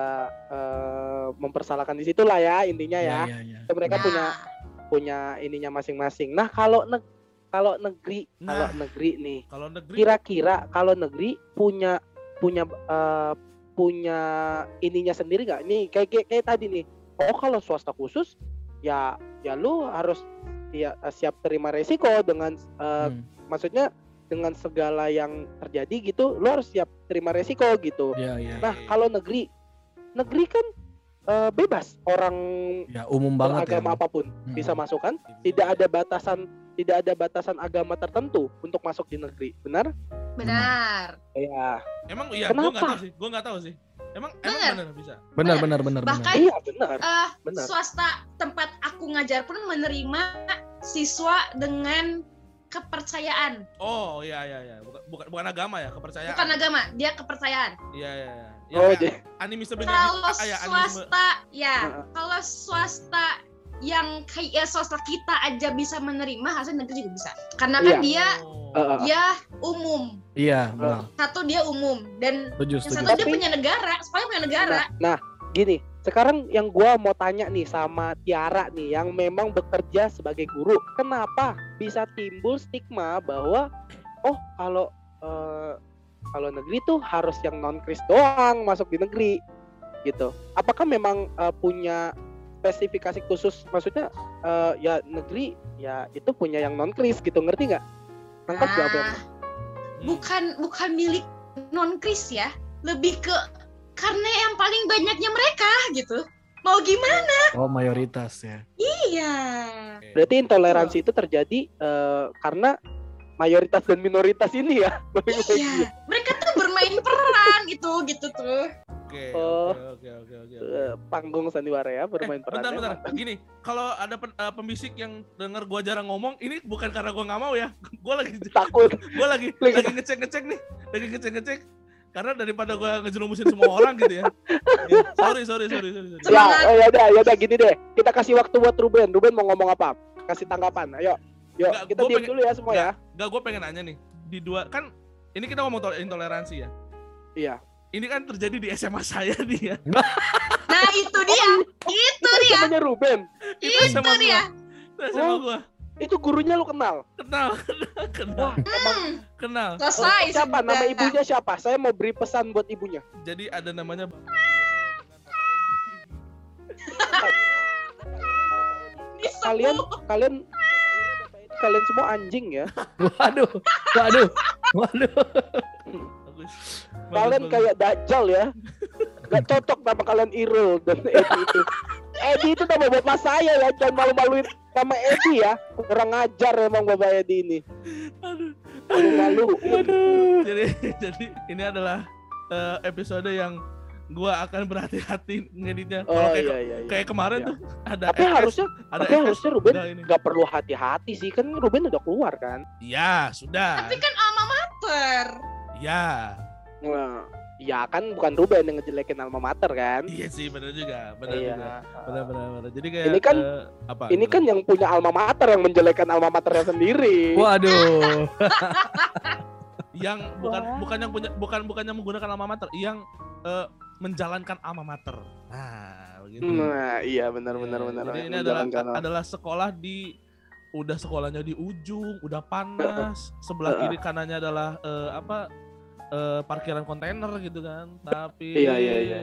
[SPEAKER 3] eh, mempersalahkan di situ lah ya intinya ya
[SPEAKER 4] Iya, iya,
[SPEAKER 3] Itu mereka
[SPEAKER 2] Nah,
[SPEAKER 3] punya punya ininya masing-masing. Nah kalau neg kalau negeri kalau
[SPEAKER 1] Nah.
[SPEAKER 3] negeri nih
[SPEAKER 1] Kalau negeri
[SPEAKER 3] kira-kira kalau negeri punya punya eh, punya ininya sendiri nggak nih kayak, kayak kayak tadi nih oh kalau swasta khusus ya ya lu harus ya, siap terima resiko dengan eh,
[SPEAKER 4] Hmm,
[SPEAKER 3] maksudnya dengan segala yang terjadi gitu lu harus siap terima resiko gitu
[SPEAKER 4] iya, iya.
[SPEAKER 3] nah kalau negeri negeri kan eh, bebas orang
[SPEAKER 4] Ya umum banget ya.
[SPEAKER 3] agama apapun
[SPEAKER 4] Hmm.
[SPEAKER 3] bisa masuk kan tidak ada batasan tidak ada batasan agama tertentu untuk masuk di negeri benar
[SPEAKER 2] benar
[SPEAKER 3] ya
[SPEAKER 1] Emang iya, gue nggak
[SPEAKER 3] Kenapa?
[SPEAKER 1] tahu sih, gue nggak tahu sih. Emang emang
[SPEAKER 2] Bener.
[SPEAKER 1] bener bisa.
[SPEAKER 4] Benar, benar, benar, benar.
[SPEAKER 2] bahkan
[SPEAKER 3] Iya benar,
[SPEAKER 2] eh,
[SPEAKER 3] benar.
[SPEAKER 2] swasta tempat aku ngajar pun menerima siswa dengan kepercayaan
[SPEAKER 1] Oh iya iya iya, bukan bukan, bukan agama ya, kepercayaan.
[SPEAKER 2] bukan agama dia kepercayaan
[SPEAKER 1] Iya iya. iya. Ya,
[SPEAKER 3] Oh,
[SPEAKER 1] kayak
[SPEAKER 3] jadi-
[SPEAKER 1] animisme
[SPEAKER 2] kalau
[SPEAKER 1] ah, ya, animisme.
[SPEAKER 2] swasta
[SPEAKER 3] Heeh.
[SPEAKER 2] ya kalau swasta yang kayak ya, swasta kita aja bisa menerima harusnya negeri juga bisa karena kan
[SPEAKER 3] Iya.
[SPEAKER 2] dia
[SPEAKER 1] Oh.
[SPEAKER 3] Eh, eh,
[SPEAKER 2] dia umum
[SPEAKER 4] Iya, benar.
[SPEAKER 3] Nah.
[SPEAKER 2] satu dia umum dan
[SPEAKER 4] Setuju,
[SPEAKER 2] yang
[SPEAKER 4] setuju.
[SPEAKER 2] satu dia
[SPEAKER 3] Tapi-
[SPEAKER 2] punya negara Spanyol punya negara
[SPEAKER 3] nah, nah, gini, sekarang yang gua mau tanya nih sama Tiara nih yang memang bekerja sebagai guru, kenapa bisa timbul stigma bahwa oh kalau eh, kalau negeri tuh harus yang non kris doang masuk di negeri gitu. Apakah memang eh, punya spesifikasi khusus maksudnya eh, ya negeri ya itu punya yang non kris gitu ngerti nggak? Nangkap gak apa?
[SPEAKER 2] Nah, bukan bukan milik non kris ya lebih ke karena yang paling banyaknya mereka gitu mau gimana
[SPEAKER 4] Oh mayoritas ya. [laughs]
[SPEAKER 2] ya
[SPEAKER 1] Iya.
[SPEAKER 3] Berarti intoleransi itu terjadi eh, karena mayoritas dan minoritas ini ya.
[SPEAKER 2] iya mereka tuh bermain peran gitu gitu tuh
[SPEAKER 1] Oke,
[SPEAKER 3] Oh.
[SPEAKER 1] oke, oke, oke, oke.
[SPEAKER 3] Eh, Panggung sandiwara ya bermain peran.
[SPEAKER 1] Eh, Bentar, bentar. Gini, kalau ada pen- eh, pembisik yang denger gua jarang ngomong, ini bukan karena gua nggak mau ya. [laughs] Gua lagi
[SPEAKER 3] Takut.
[SPEAKER 1] gua lagi
[SPEAKER 3] Lagi-
[SPEAKER 1] lagi ngecek-ngecek nih, lagi ngecek-ngecek karena daripada gua ngejerumusin semua orang gitu ya. Ya, Sorry, sorry, sorry, sorry. sorry.
[SPEAKER 3] Ya,
[SPEAKER 2] Semangat.
[SPEAKER 3] ya udah, ya udah gini deh. Kita kasih waktu buat Ruben. Ruben mau ngomong apa? Kasih tanggapan. Ayo. Yuk,
[SPEAKER 1] Nggak,
[SPEAKER 3] kita
[SPEAKER 1] gua
[SPEAKER 3] diam
[SPEAKER 1] pengen-
[SPEAKER 3] dulu ya semua ya.
[SPEAKER 1] Gak, gue pengen nanya nih. Di dua kan ini kita ngomong tol- intoleransi ya.
[SPEAKER 3] Iya.
[SPEAKER 1] Ini kan terjadi di SMA saya nih ya. [laughs]
[SPEAKER 2] nah itu dia
[SPEAKER 3] Oh, iya.
[SPEAKER 2] itu
[SPEAKER 3] Itu
[SPEAKER 2] dia
[SPEAKER 3] temennya Ruben. Iya,
[SPEAKER 1] Itu
[SPEAKER 2] itu
[SPEAKER 1] sama
[SPEAKER 3] ya.
[SPEAKER 2] dia
[SPEAKER 1] Itu SMA
[SPEAKER 3] Oh.
[SPEAKER 1] gua.
[SPEAKER 3] Itu gurunya lu kenal.
[SPEAKER 1] Kenal, [laughs] kenal,
[SPEAKER 3] Wah, emang
[SPEAKER 2] Hmm,
[SPEAKER 1] kenal.
[SPEAKER 2] selesai
[SPEAKER 3] Oh, siapa nama
[SPEAKER 2] sudah.
[SPEAKER 3] ibunya siapa? Saya mau beri pesan buat ibunya.
[SPEAKER 1] Jadi ada namanya
[SPEAKER 2] Disebut.
[SPEAKER 3] Kalian kalian kalian semua anjing ya.
[SPEAKER 4] Waduh, waduh, waduh.
[SPEAKER 1] bagus. Bagus,
[SPEAKER 3] Kalian
[SPEAKER 1] bagus.
[SPEAKER 3] kayak dajal ya. Gak cocok nama kalian Irul dan Edi itu. Edi itu nama bapak saya ya, jangan malu-maluin nama Edi ya. Kurang ajar emang bapak Edi ini.
[SPEAKER 1] Aduh.
[SPEAKER 3] Malu-malu.
[SPEAKER 1] Jadi [laughs] jadi ini adalah eh, episode yang gua akan berhati-hati ngeditnya. Kalau
[SPEAKER 3] Oh
[SPEAKER 1] kayak,
[SPEAKER 3] iya iya. iya.
[SPEAKER 1] kayak kemarin
[SPEAKER 3] Iya.
[SPEAKER 1] tuh ada
[SPEAKER 3] Tapi
[SPEAKER 1] FS,
[SPEAKER 3] harusnya
[SPEAKER 1] ada
[SPEAKER 3] tapi
[SPEAKER 1] FS,
[SPEAKER 3] harusnya Ruben
[SPEAKER 1] ada ini.
[SPEAKER 3] nggak perlu hati-hati sih kan Ruben udah keluar kan.
[SPEAKER 1] Ya, sudah.
[SPEAKER 2] tapi kan alma mater
[SPEAKER 1] Ya.
[SPEAKER 3] Nah, ya kan bukan Ruben yang ngejelekin alma mater kan.
[SPEAKER 1] Iya sih, benar juga. Benar
[SPEAKER 3] Iya.
[SPEAKER 1] juga. Benar benar benar. Jadi kayak
[SPEAKER 3] Ini kan-
[SPEAKER 1] eh, apa?
[SPEAKER 3] Ini kan yang punya alma mater yang menjelekan alma maternya sendiri.
[SPEAKER 4] Waduh.
[SPEAKER 1] yang bukan bukan yang punya bukan bukan yang menggunakan alma mater, yang eh, menjalankan alma mater. Nah, begitu.
[SPEAKER 3] Nah, iya benar benar
[SPEAKER 1] Ya,
[SPEAKER 3] benar.
[SPEAKER 1] Jadi
[SPEAKER 3] Yang
[SPEAKER 1] ini adalah
[SPEAKER 3] menjalankan alma-
[SPEAKER 1] adalah sekolah di udah sekolahnya di ujung, udah panas. Sebelah
[SPEAKER 3] Heeh.
[SPEAKER 1] kiri kanannya adalah eh, apa? eh, parkiran kontainer gitu kan. Tapi
[SPEAKER 3] Iya, iya, iya.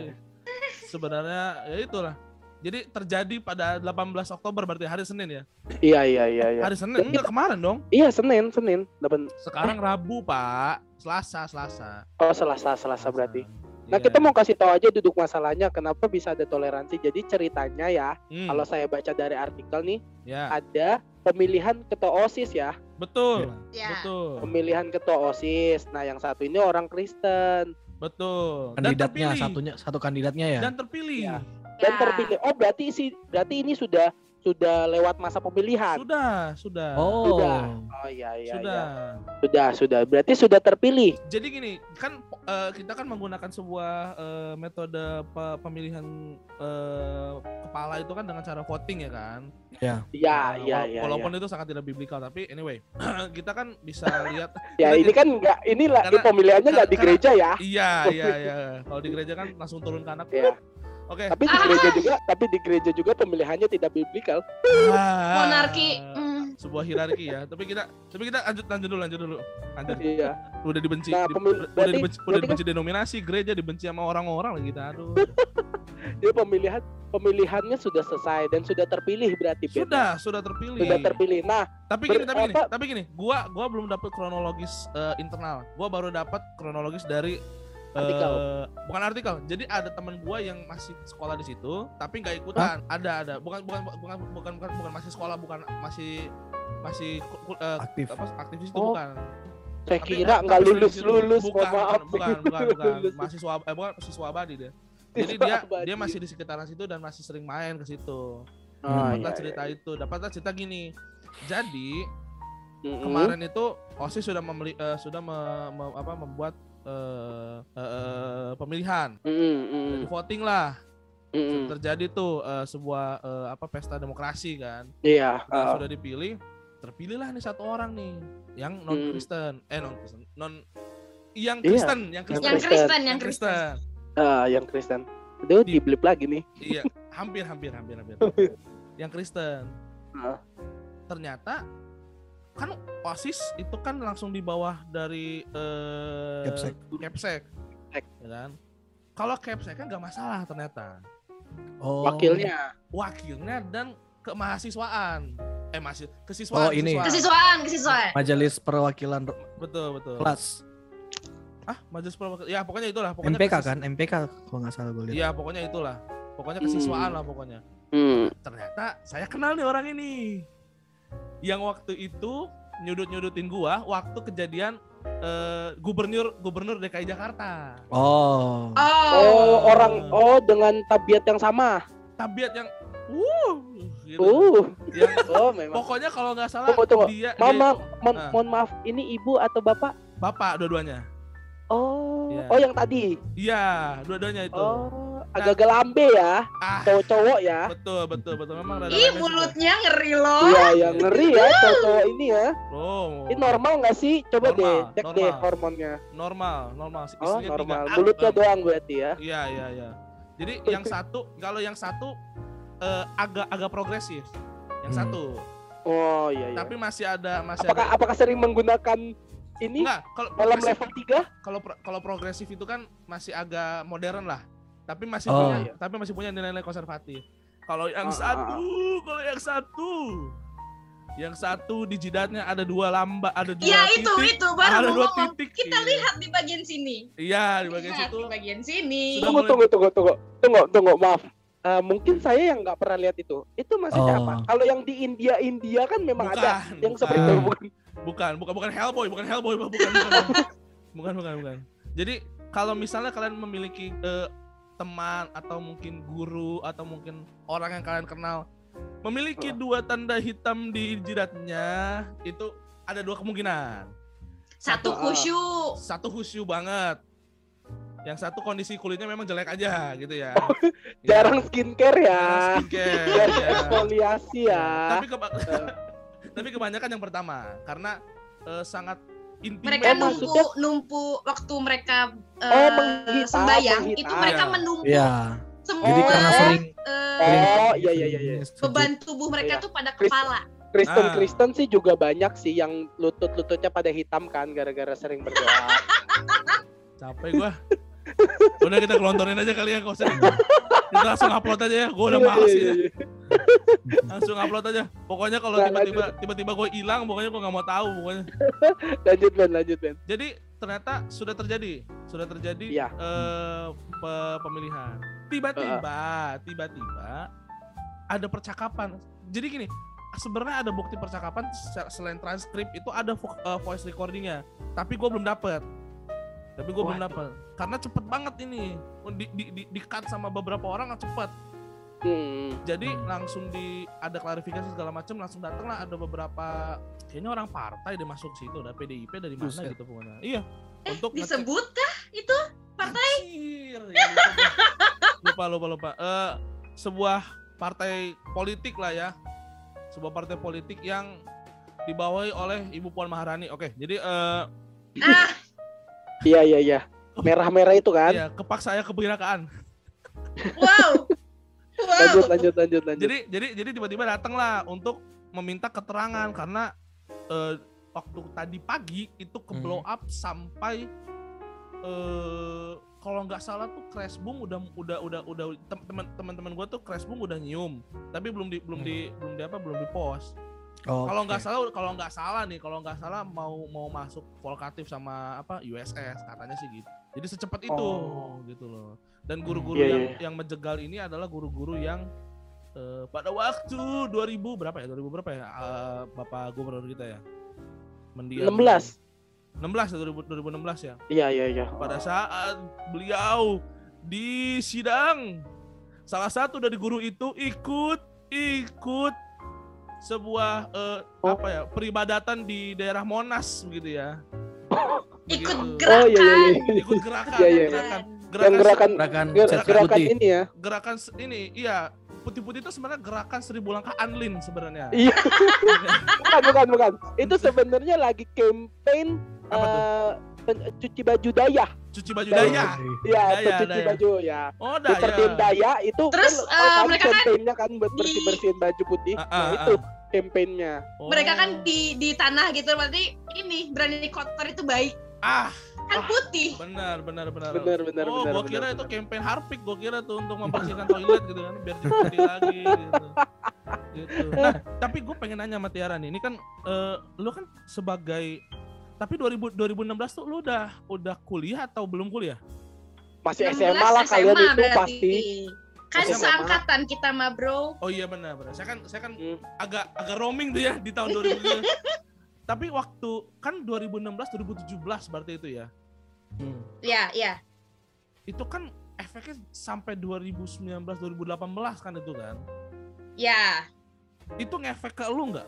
[SPEAKER 1] Sebenarnya ya itulah. Jadi terjadi pada 18 Oktober berarti hari Senin ya.
[SPEAKER 3] Iya iya iya iya.
[SPEAKER 1] Hari Senin enggak kemarin dong.
[SPEAKER 3] Iya Senin Senin. Dapat
[SPEAKER 1] Sekarang Rabu, Pak. Selasa, Selasa.
[SPEAKER 3] oh Selasa Selasa berarti. Nah
[SPEAKER 1] Iya.
[SPEAKER 3] kita mau kasih tahu aja duduk masalahnya kenapa bisa ada toleransi. Jadi ceritanya ya,
[SPEAKER 1] Hmm,
[SPEAKER 3] kalau saya baca dari artikel nih
[SPEAKER 1] ya,
[SPEAKER 3] ada pemilihan ketua OSIS ya,
[SPEAKER 1] betul.
[SPEAKER 2] ya
[SPEAKER 1] Betul.
[SPEAKER 3] pemilihan ketua OSIS. Nah, yang satu ini orang Kristen
[SPEAKER 1] Betul.
[SPEAKER 4] Kandidatnya
[SPEAKER 1] terpilih.
[SPEAKER 4] satunya satu kandidatnya ya.
[SPEAKER 1] Dan terpilih.
[SPEAKER 3] Iya.
[SPEAKER 2] Ya.
[SPEAKER 3] dan terpilih. Oh, berarti sih berarti ini sudah sudah lewat masa pemilihan.
[SPEAKER 1] Sudah, sudah.
[SPEAKER 4] Oh.
[SPEAKER 3] Sudah. Oh iya iya
[SPEAKER 1] sudah.
[SPEAKER 3] iya. Sudah sudah. Berarti sudah terpilih.
[SPEAKER 1] Jadi gini, kan eh, kita kan menggunakan sebuah eh, metode pe- pemilihan eh, kepala itu kan dengan cara voting ya kan.
[SPEAKER 3] Ya
[SPEAKER 1] Nah,
[SPEAKER 3] iya
[SPEAKER 1] wala-
[SPEAKER 3] iya.
[SPEAKER 1] Walaupun itu sangat tidak biblical, tapi anyway, [clears throat] kita kan
[SPEAKER 3] [laughs]
[SPEAKER 1] bisa lihat.
[SPEAKER 3] Ya ini kan enggak inilah
[SPEAKER 1] Karena-
[SPEAKER 3] pemilihannya enggak di
[SPEAKER 1] karena-
[SPEAKER 3] gereja ya.
[SPEAKER 1] [laughs] iya, iya, iya. Kalau di gereja kan langsung turun ke anak.
[SPEAKER 3] Iya.
[SPEAKER 1] Oke.
[SPEAKER 3] Tapi di
[SPEAKER 2] Ah.
[SPEAKER 3] gereja juga tapi di gereja juga pemilihannya tidak biblikal.
[SPEAKER 1] Ah.
[SPEAKER 2] monarki mm.
[SPEAKER 1] sebuah hierarki ya. Tapi kita tapi kita lanjut lanjut dulu lanjut dulu. Lanjut.
[SPEAKER 3] Iya.
[SPEAKER 1] Udah dibenci.
[SPEAKER 3] Nah,
[SPEAKER 1] di-
[SPEAKER 3] pemil-
[SPEAKER 1] udah
[SPEAKER 3] berarti-
[SPEAKER 1] dibenci, udah
[SPEAKER 3] berarti kan
[SPEAKER 1] dibenci denominasi, gereja dibenci sama orang-orang lagi kita. Aduh.
[SPEAKER 3] Jadi pemilihan pemilihannya sudah selesai dan sudah terpilih berarti Ben.
[SPEAKER 1] Sudah, sudah terpilih.
[SPEAKER 3] ya, sudah terpilih. Nah,
[SPEAKER 1] Tapi gini,
[SPEAKER 3] Ber-
[SPEAKER 1] tapi gini,
[SPEAKER 3] apa-
[SPEAKER 1] tapi gini. Gua gua belum dapet kronologis eh, internal. Gua baru dapat kronologis dari eh,
[SPEAKER 3] Artikel.
[SPEAKER 1] bukan artikel. Jadi ada teman gua yang masih sekolah di situ, tapi nggak ikutan. Ada ada. Bukan bukan bukan bukan bukan, bukan masih sekolah, bukan masih masih ku- ku- eh,
[SPEAKER 4] Aktif.
[SPEAKER 1] apa aktivis itu
[SPEAKER 3] Oh.
[SPEAKER 1] bukan.
[SPEAKER 3] saya
[SPEAKER 1] Tapi eh,
[SPEAKER 3] kira nggak
[SPEAKER 1] tapi
[SPEAKER 3] lulus
[SPEAKER 1] serius itu
[SPEAKER 3] lulus.
[SPEAKER 1] bukan,
[SPEAKER 3] Mohon maaf.
[SPEAKER 1] bukan, bukan,
[SPEAKER 3] [laughs]
[SPEAKER 1] bukan,
[SPEAKER 3] Lulus.
[SPEAKER 1] bukan. mahasiswa eh bukan siswa abadi dia jadi
[SPEAKER 3] [laughs]
[SPEAKER 1] dia
[SPEAKER 3] Abadi.
[SPEAKER 1] dia masih di sekitaran situ dan masih sering main ke situ
[SPEAKER 3] Oh,
[SPEAKER 1] dapatlah
[SPEAKER 3] iya,
[SPEAKER 1] cerita
[SPEAKER 3] iya.
[SPEAKER 1] itu dapatlah cerita gini jadi
[SPEAKER 3] Mm-mm.
[SPEAKER 1] kemarin itu osis sudah membeli eh, sudah me- me- apa, membuat eh, eh, eh, pemilihan
[SPEAKER 3] Mm-mm, mm-mm,
[SPEAKER 1] Jadi voting lah
[SPEAKER 3] mm-mm.
[SPEAKER 1] terjadi tuh eh, sebuah eh, apa pesta demokrasi kan
[SPEAKER 3] Iya.
[SPEAKER 1] Nah,
[SPEAKER 3] ah.
[SPEAKER 1] sudah dipilih terpilihlah nih satu orang nih yang non Kristen eh non Kristen non yang
[SPEAKER 3] Hmm. Iya,
[SPEAKER 1] Kristen yang Kristen
[SPEAKER 2] yang Kristen yang Kristen
[SPEAKER 1] Kristen.
[SPEAKER 3] Ah, yang Kristen. Aduh,
[SPEAKER 1] Di-
[SPEAKER 3] diblip lagi nih.
[SPEAKER 1] Iya, hampir hampir hampir hampir. yang Kristen.
[SPEAKER 3] Heeh.
[SPEAKER 1] Ternyata kan OSIS itu kan langsung di bawah dari eh
[SPEAKER 4] Capsec.
[SPEAKER 1] Capsec.
[SPEAKER 3] Capsec.
[SPEAKER 1] Ya kan? Kalau Capsec kan nggak masalah ternyata.
[SPEAKER 4] Oh.
[SPEAKER 3] Wakilnya.
[SPEAKER 1] Wakilnya dan kemahasiswaan. Eh masih kesiswaan.
[SPEAKER 4] Oh, ini.
[SPEAKER 1] kesiswaan.
[SPEAKER 2] kesiswaan kesiswaan
[SPEAKER 4] Majelis Perwakilan Ro-
[SPEAKER 1] Betul betul.
[SPEAKER 4] Kelas
[SPEAKER 1] Ah, majelis perwakilan. Ya pokoknya itulah. Pokoknya
[SPEAKER 4] MPK
[SPEAKER 1] kesis-
[SPEAKER 4] kan? MPK kalau nggak salah gue lihat.
[SPEAKER 1] Iya, pokoknya itulah. pokoknya kesiswaan
[SPEAKER 3] Hmm.
[SPEAKER 1] lah pokoknya
[SPEAKER 3] Hmm.
[SPEAKER 1] ternyata saya kenal nih orang ini yang waktu itu nyudut nyudutin gua waktu kejadian eh, gubernur gubernur DKI Jakarta
[SPEAKER 4] Oh.
[SPEAKER 2] Oh,
[SPEAKER 3] Oh, orang oh dengan tabiat yang sama.
[SPEAKER 1] tabiat yang wuh gitu.
[SPEAKER 3] Uh,
[SPEAKER 1] Yang-
[SPEAKER 3] oh memang.
[SPEAKER 1] pokoknya kalau nggak salah
[SPEAKER 3] Tunggu, tunggu.
[SPEAKER 1] dia
[SPEAKER 3] Mama,
[SPEAKER 1] dia-
[SPEAKER 3] mohon-
[SPEAKER 1] Ah.
[SPEAKER 3] mohon maaf, ini ibu atau bapak?
[SPEAKER 1] bapak dua-duanya
[SPEAKER 3] Oh,
[SPEAKER 1] Iya.
[SPEAKER 3] oh yang tadi.
[SPEAKER 1] iya dua-duanya itu
[SPEAKER 3] Oh, agak-agak lambe ya,
[SPEAKER 1] Nah. ah
[SPEAKER 3] cowok-cowok ya.
[SPEAKER 1] betul betul betul
[SPEAKER 3] Oh.
[SPEAKER 1] memang rada
[SPEAKER 2] ih
[SPEAKER 1] rada suka.
[SPEAKER 2] mulutnya ngeri
[SPEAKER 1] Ah.
[SPEAKER 2] loh.
[SPEAKER 3] Iya, yang ngeri ya cowok-cowok ini ya.
[SPEAKER 1] oh
[SPEAKER 3] Ini normal nggak sih? Coba
[SPEAKER 1] Normal,
[SPEAKER 3] deh, cek deh
[SPEAKER 1] normal.
[SPEAKER 3] hormonnya.
[SPEAKER 1] normal normal Si
[SPEAKER 3] Oh,
[SPEAKER 1] istrinya tiga.
[SPEAKER 3] normal.
[SPEAKER 1] Ah,
[SPEAKER 3] Mulutnya
[SPEAKER 1] eh,
[SPEAKER 3] doang berarti ya.
[SPEAKER 1] Iya iya iya. Jadi yang satu kalau yang satu eh, agak agak progresif. Yang
[SPEAKER 4] Hmm.
[SPEAKER 1] satu.
[SPEAKER 3] Oh, iya iya.
[SPEAKER 1] Tapi masih ada masih
[SPEAKER 3] apakah
[SPEAKER 1] ada.
[SPEAKER 3] apakah sering menggunakan ini
[SPEAKER 1] Enggak, kalau
[SPEAKER 3] dalam
[SPEAKER 1] progresif-
[SPEAKER 3] level 3?
[SPEAKER 1] kalau pro- kalau progresif itu kan masih agak modern lah. Tapi masih
[SPEAKER 4] Oh.
[SPEAKER 1] punya tapi masih punya nilai-nilai konservatif. Kalau yang
[SPEAKER 3] Ah, ah,
[SPEAKER 1] satu, kalau yang satu. Yang satu di jidatnya ada dua lamba, ada dua
[SPEAKER 2] Iya
[SPEAKER 1] titik.
[SPEAKER 2] itu itu baru
[SPEAKER 1] ada
[SPEAKER 2] mau
[SPEAKER 1] dua
[SPEAKER 2] ngomong.
[SPEAKER 1] titik.
[SPEAKER 2] Kita
[SPEAKER 1] Iya.
[SPEAKER 2] lihat di bagian sini.
[SPEAKER 1] Iya, di bagian
[SPEAKER 2] Lihat
[SPEAKER 1] situ.
[SPEAKER 2] di bagian sini.
[SPEAKER 1] Sudah
[SPEAKER 3] Tunggu
[SPEAKER 1] mulai-
[SPEAKER 3] tunggu tunggu tunggu. Tunggu tunggu, maaf. Eh, mungkin saya yang nggak pernah lihat itu. Itu maksudnya
[SPEAKER 4] Oh.
[SPEAKER 3] apa? Kalau yang di India India kan memang ada
[SPEAKER 1] Bukan,
[SPEAKER 3] yang
[SPEAKER 1] bukan.
[SPEAKER 3] seperti itu bukan.
[SPEAKER 1] Bukan, bukan bukan Hellboy, bukan Hellboy, bukan bukan. bukan. bukan, bukan, bukan. Jadi kalau misalnya kalian memiliki eh, teman atau mungkin guru atau mungkin orang yang kalian kenal memiliki
[SPEAKER 3] Oh.
[SPEAKER 1] dua tanda hitam di jidatnya, itu ada dua kemungkinan.
[SPEAKER 2] Satu
[SPEAKER 3] Ah.
[SPEAKER 2] khusyuk.
[SPEAKER 1] Satu khusyuk banget. Yang satu kondisi kulitnya memang jelek aja gitu ya. Iya.
[SPEAKER 3] Jarang skincare ya.
[SPEAKER 1] Jarang skincare.
[SPEAKER 3] Jarang
[SPEAKER 1] ya.
[SPEAKER 3] eksfoliasi ya.
[SPEAKER 1] Tapi keba- [laughs] tapi kebanyakan yang pertama karena eh, sangat intim.
[SPEAKER 2] Mereka numpu
[SPEAKER 3] Oh, maksudnya-
[SPEAKER 2] numpu waktu mereka eh,
[SPEAKER 3] Oh, menghitam,
[SPEAKER 2] sembayang
[SPEAKER 3] menghitam.
[SPEAKER 2] itu mereka
[SPEAKER 1] Iya.
[SPEAKER 2] menumpu
[SPEAKER 4] Iya.
[SPEAKER 2] semua
[SPEAKER 4] Jadi karena
[SPEAKER 2] eh,
[SPEAKER 4] sering
[SPEAKER 3] sering- Oh, iya, iya, iya, iya.
[SPEAKER 2] beban tubuh mereka
[SPEAKER 3] Iya.
[SPEAKER 2] tuh pada
[SPEAKER 3] Chris-
[SPEAKER 2] kepala.
[SPEAKER 3] Kristen
[SPEAKER 1] Ah.
[SPEAKER 3] Kristen sih juga banyak sih yang lutut-lututnya pada hitam kan gara-gara sering berdoa.
[SPEAKER 1] Capek gua. Udah kita kelontorin aja kali ya nggak usah. Kita langsung upload aja ya. Gua [laughs] udah males
[SPEAKER 3] Iya,
[SPEAKER 1] gitu.
[SPEAKER 3] iya, iya.
[SPEAKER 1] Langsung upload aja. Pokoknya kalau
[SPEAKER 3] Nah,
[SPEAKER 1] tiba-tiba tiba-tiba gua hilang, pokoknya gua nggak mau tahu pokoknya.
[SPEAKER 3] [laughs] Lanjut Ben, lanjut Ben.
[SPEAKER 1] Jadi ternyata sudah terjadi, sudah terjadi
[SPEAKER 3] Iya.
[SPEAKER 1] eh, pe- pemilihan. Tiba-tiba, tiba-tiba ada percakapan. Jadi gini, sebenarnya ada bukti percakapan se- selain transkrip itu ada vo- eh, voice recordingnya, tapi gue belum dapet. Tapi gue belum dapet karena cepet banget ini di di di, di cut sama beberapa orang cepet.
[SPEAKER 3] Hmm.
[SPEAKER 1] Jadi
[SPEAKER 4] Hmm.
[SPEAKER 1] langsung di ada klarifikasi segala macam langsung datanglah ada beberapa kayaknya orang partai deh masuk situ, ada PDIP dari mana
[SPEAKER 4] Buset.
[SPEAKER 1] gitu pokoknya. Iya.
[SPEAKER 2] Eh,
[SPEAKER 1] Untuk ngecek-
[SPEAKER 2] Disebutkah itu? Partai?
[SPEAKER 1] Anjir, ya lupa. lupa lupa lupa. Eh, sebuah partai politik lah ya. Sebuah partai politik yang dibawahi oleh Ibu Puan Maharani. Oke, jadi eh
[SPEAKER 2] Ah,
[SPEAKER 3] Iya iya iya.
[SPEAKER 1] Oh.
[SPEAKER 3] Merah-merah itu kan.
[SPEAKER 1] ya kepaksa saya kebirakaan.
[SPEAKER 3] [laughs]
[SPEAKER 2] wow. Wow.
[SPEAKER 3] Lanjut lanjut lanjut lanjut.
[SPEAKER 1] Jadi jadi jadi tiba-tiba datanglah untuk meminta keterangan karena eh, waktu tadi pagi itu ke blow up sampai eh kalau nggak salah tuh crash boom udah udah udah udah tem- teman teman-teman gue tuh crash boom udah nyium tapi belum di belum di belum di apa belum di post
[SPEAKER 4] Oh,
[SPEAKER 1] kalau nggak salah kalau nggak salah nih kalau nggak salah mau mau masuk volkatif sama apa USS katanya sih gitu jadi secepat itu
[SPEAKER 3] Oh.
[SPEAKER 1] gitu loh dan guru-guru
[SPEAKER 3] Iya, iya,
[SPEAKER 1] yang yang menjegal ini adalah guru-guru yang eh, pada waktu 2000 berapa ya 2000 berapa ya eh, bapak gubernur kita ya mendiam
[SPEAKER 3] 16.
[SPEAKER 1] 16 ya 2000 2016 ya
[SPEAKER 3] Iya iya iya.
[SPEAKER 1] pada saat beliau di sidang salah satu dari guru itu ikut ikut sebuah eh,
[SPEAKER 3] Oh.
[SPEAKER 1] apa ya peribadatan di daerah Monas begitu ya
[SPEAKER 2] Ikut
[SPEAKER 1] Begitu.
[SPEAKER 3] Oh iya iya
[SPEAKER 2] gerakan.
[SPEAKER 3] iya.
[SPEAKER 1] ikut gerakan
[SPEAKER 3] Iya, iya, iya.
[SPEAKER 1] gerakan
[SPEAKER 3] Yang gerakan
[SPEAKER 4] Gerakan
[SPEAKER 3] ger-
[SPEAKER 4] cat
[SPEAKER 3] gerakan
[SPEAKER 4] putih.
[SPEAKER 3] ini ya.
[SPEAKER 1] gerakan se- ini iya putih-putih itu sebenarnya gerakan seribu langkah Anlin sebenarnya
[SPEAKER 3] Iya. bukan bukan bukan. Itu sebenarnya lagi campaign
[SPEAKER 1] Apa tuh?
[SPEAKER 3] eh, pen- cuci baju daya.
[SPEAKER 1] cuci baju daya
[SPEAKER 3] Iya,
[SPEAKER 1] Daya,
[SPEAKER 3] pencuci
[SPEAKER 1] daya.
[SPEAKER 3] baju ya.
[SPEAKER 1] oh
[SPEAKER 3] Bersihin
[SPEAKER 1] daya
[SPEAKER 3] daya itu
[SPEAKER 2] Terus,
[SPEAKER 3] kan oh,
[SPEAKER 2] eh,
[SPEAKER 3] kan
[SPEAKER 2] mereka kan
[SPEAKER 3] campaignnya kan buat
[SPEAKER 2] di-
[SPEAKER 3] bersih-bersihin baju putih.
[SPEAKER 1] Ah,
[SPEAKER 3] nah,
[SPEAKER 1] ah,
[SPEAKER 3] itu campaignnya.
[SPEAKER 1] Oh.
[SPEAKER 2] Mereka kan di di tanah gitu berarti ini berani kotor itu baik.
[SPEAKER 1] ah
[SPEAKER 2] Kan putih.
[SPEAKER 1] benar benar benar
[SPEAKER 3] Benar benar
[SPEAKER 1] oh,
[SPEAKER 3] benar.
[SPEAKER 1] gua
[SPEAKER 3] benar,
[SPEAKER 1] kira itu
[SPEAKER 3] benar.
[SPEAKER 1] campaign Harpic, gua kira tuh untuk membersihkan toilet gitu kan, biar jadi putih lagi gitu. gitu. Nah, tapi gue pengen nanya sama Tiara nih, ini kan eh, lu kan sebagai tapi 2000, 2016 tuh lu udah udah kuliah atau belum kuliah?
[SPEAKER 3] masih SMA lah
[SPEAKER 2] 16
[SPEAKER 3] kalian
[SPEAKER 2] SMA
[SPEAKER 3] itu
[SPEAKER 2] berarti.
[SPEAKER 3] pasti.
[SPEAKER 2] Kan
[SPEAKER 1] Saya
[SPEAKER 3] mohon
[SPEAKER 2] seangkatan kita mah bro.
[SPEAKER 1] Oh iya benar benar. Saya kan saya kan
[SPEAKER 3] Hmm.
[SPEAKER 1] agak agak roaming tuh ya di tahun 2000. Tapi waktu kan 2016 2017 berarti itu ya.
[SPEAKER 4] Hmm.
[SPEAKER 2] Ya, ya.
[SPEAKER 1] Itu kan efeknya sampai 2019 2018 kan itu kan.
[SPEAKER 2] Ya.
[SPEAKER 1] Itu ngefek ke lu nggak?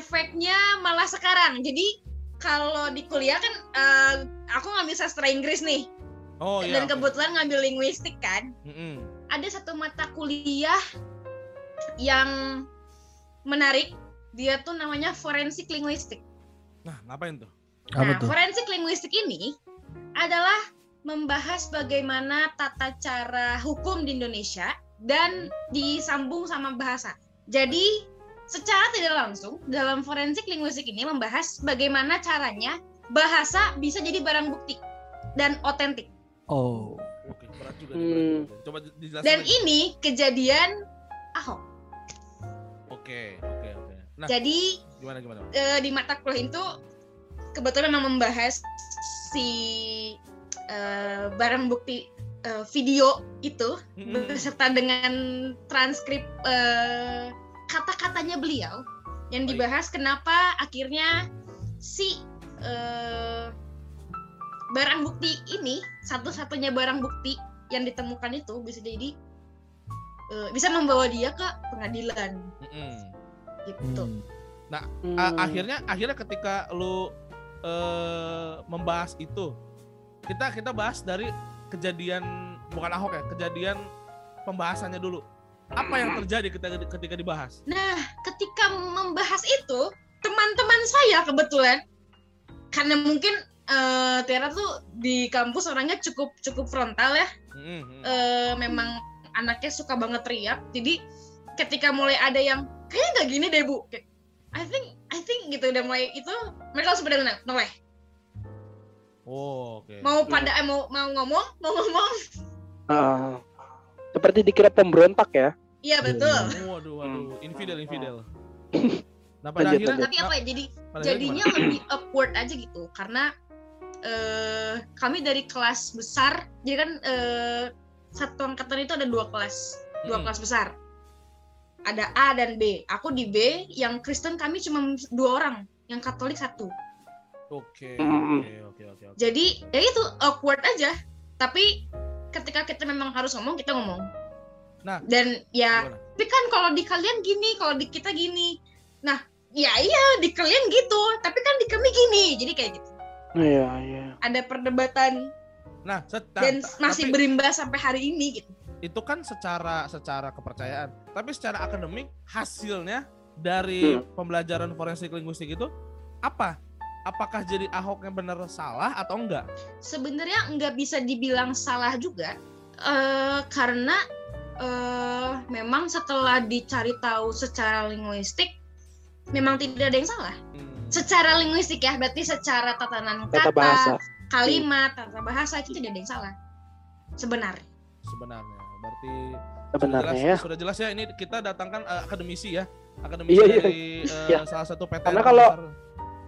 [SPEAKER 2] Ngefeknya malah sekarang. Jadi kalau di kuliah kan eh, aku ngambil sastra Inggris nih.
[SPEAKER 1] Oh iya.
[SPEAKER 2] Dan
[SPEAKER 1] oke.
[SPEAKER 2] kebetulan ngambil linguistik kan.
[SPEAKER 1] Mm-mm.
[SPEAKER 2] ada satu mata kuliah yang menarik. Dia tuh namanya forensik linguistik.
[SPEAKER 1] Nah, ngapain tuh?
[SPEAKER 4] Apa
[SPEAKER 2] Nah,
[SPEAKER 4] tuh?
[SPEAKER 2] forensik linguistik ini adalah membahas bagaimana tata cara hukum di Indonesia dan disambung sama bahasa. Jadi, secara tidak langsung dalam forensik linguistik ini membahas bagaimana caranya bahasa bisa jadi barang bukti dan otentik.
[SPEAKER 4] Oh.
[SPEAKER 1] Oke, berat juga nih, berat
[SPEAKER 3] Hmm.
[SPEAKER 1] juga. Coba dijelasin.
[SPEAKER 2] Dan
[SPEAKER 1] lagi.
[SPEAKER 2] ini kejadian Ahok.
[SPEAKER 1] Oke, oke, oke. Nah,
[SPEAKER 2] Jadi,
[SPEAKER 1] gimana gimana?
[SPEAKER 2] eh, di mata kuliah itu kebetulan memang membahas si eh, barang bukti eh, video itu
[SPEAKER 1] Mm-mm.
[SPEAKER 2] beserta dengan transkrip eh, kata-katanya beliau yang
[SPEAKER 1] Baik.
[SPEAKER 2] dibahas kenapa akhirnya si eh, barang bukti ini satu-satunya barang bukti yang ditemukan itu bisa jadi eh, bisa membawa dia ke pengadilan
[SPEAKER 1] Mm-mm.
[SPEAKER 2] gitu.
[SPEAKER 4] Hmm.
[SPEAKER 2] Hmm.
[SPEAKER 1] A- akhirnya akhirnya ketika lu eh, membahas itu kita kita bahas dari kejadian bukan Ahok ya kejadian pembahasannya dulu apa yang
[SPEAKER 2] Hmm.
[SPEAKER 1] terjadi ketika ketika dibahas
[SPEAKER 2] Nah, ketika membahas itu, teman-teman saya kebetulan karena mungkin eh, Tiara tuh di kampus orangnya cukup cukup frontal ya.
[SPEAKER 1] Mm, mm.
[SPEAKER 2] Eh, memang anaknya suka banget teriak. Jadi ketika mulai ada yang kayaknya nggak gini deh bu, Kayak, I think I think gitu udah mulai itu mereka langsung pada noleh. noleh.
[SPEAKER 1] oh, oke
[SPEAKER 2] Mau pada eh, mau mau ngomong mau ngomong.
[SPEAKER 3] Ah. seperti dikira pemberontak ya.
[SPEAKER 2] Iya betul.
[SPEAKER 1] waduh waduh
[SPEAKER 2] Hmm.
[SPEAKER 1] infidel infidel
[SPEAKER 2] [coughs]
[SPEAKER 1] nah
[SPEAKER 3] Lanjut,
[SPEAKER 1] pada akhirnya
[SPEAKER 3] lanjut.
[SPEAKER 2] Tapi apa ya jadi
[SPEAKER 1] nah, pada akhirnya
[SPEAKER 2] jadinya lebih upward aja gitu karena eh kami dari kelas besar jadi kan eh, satu angkatan itu ada dua kelas dua
[SPEAKER 1] Mm.
[SPEAKER 2] kelas besar ada A dan B aku di B yang Kristen kami cuma dua orang yang Katolik satu
[SPEAKER 1] gimana? oke
[SPEAKER 2] Hmm.
[SPEAKER 3] Mm.
[SPEAKER 1] oke oke oke oke
[SPEAKER 2] jadi ya itu awkward aja tapi ketika kita memang harus ngomong kita ngomong
[SPEAKER 1] Nah.
[SPEAKER 2] dan ya
[SPEAKER 1] Gimana?
[SPEAKER 2] tapi kan kalau di kalian gini kalau di kita gini nah ya iya di kalian gitu tapi kan di kami gini jadi kayak gitu
[SPEAKER 1] Hmm.
[SPEAKER 3] Iya, iya.
[SPEAKER 2] ada perdebatan
[SPEAKER 1] nah set- nah,
[SPEAKER 2] dan
[SPEAKER 1] ta-
[SPEAKER 2] masih
[SPEAKER 1] tapi-
[SPEAKER 2] berimbas sampai hari ini gitu.
[SPEAKER 1] itu kan secara secara kepercayaan tapi secara akademik hasilnya dari
[SPEAKER 3] Hmm.
[SPEAKER 1] pembelajaran forensik linguistik itu apa apakah jadi Ahok yang benar salah atau enggak
[SPEAKER 2] Sebenarnya nggak bisa dibilang salah juga eh, karena eh, memang setelah dicari tahu secara linguistik memang tidak ada yang salah.
[SPEAKER 1] Hmm,
[SPEAKER 2] Secara linguistik ya berarti secara tatanan kata,
[SPEAKER 3] Tata bahasa.
[SPEAKER 2] kalimat, tata bahasa itu tidak ada yang salah. Sebenarnya.
[SPEAKER 1] sebenarnya berarti
[SPEAKER 3] Sebenarnya
[SPEAKER 1] jelas,
[SPEAKER 3] ya.
[SPEAKER 1] sudah jelas ya ini kita datangkan eh, akademisi ya akademisi
[SPEAKER 3] Iya, iya.
[SPEAKER 1] dari eh,
[SPEAKER 3] Iya.
[SPEAKER 1] salah satu PT
[SPEAKER 3] Karena kalau-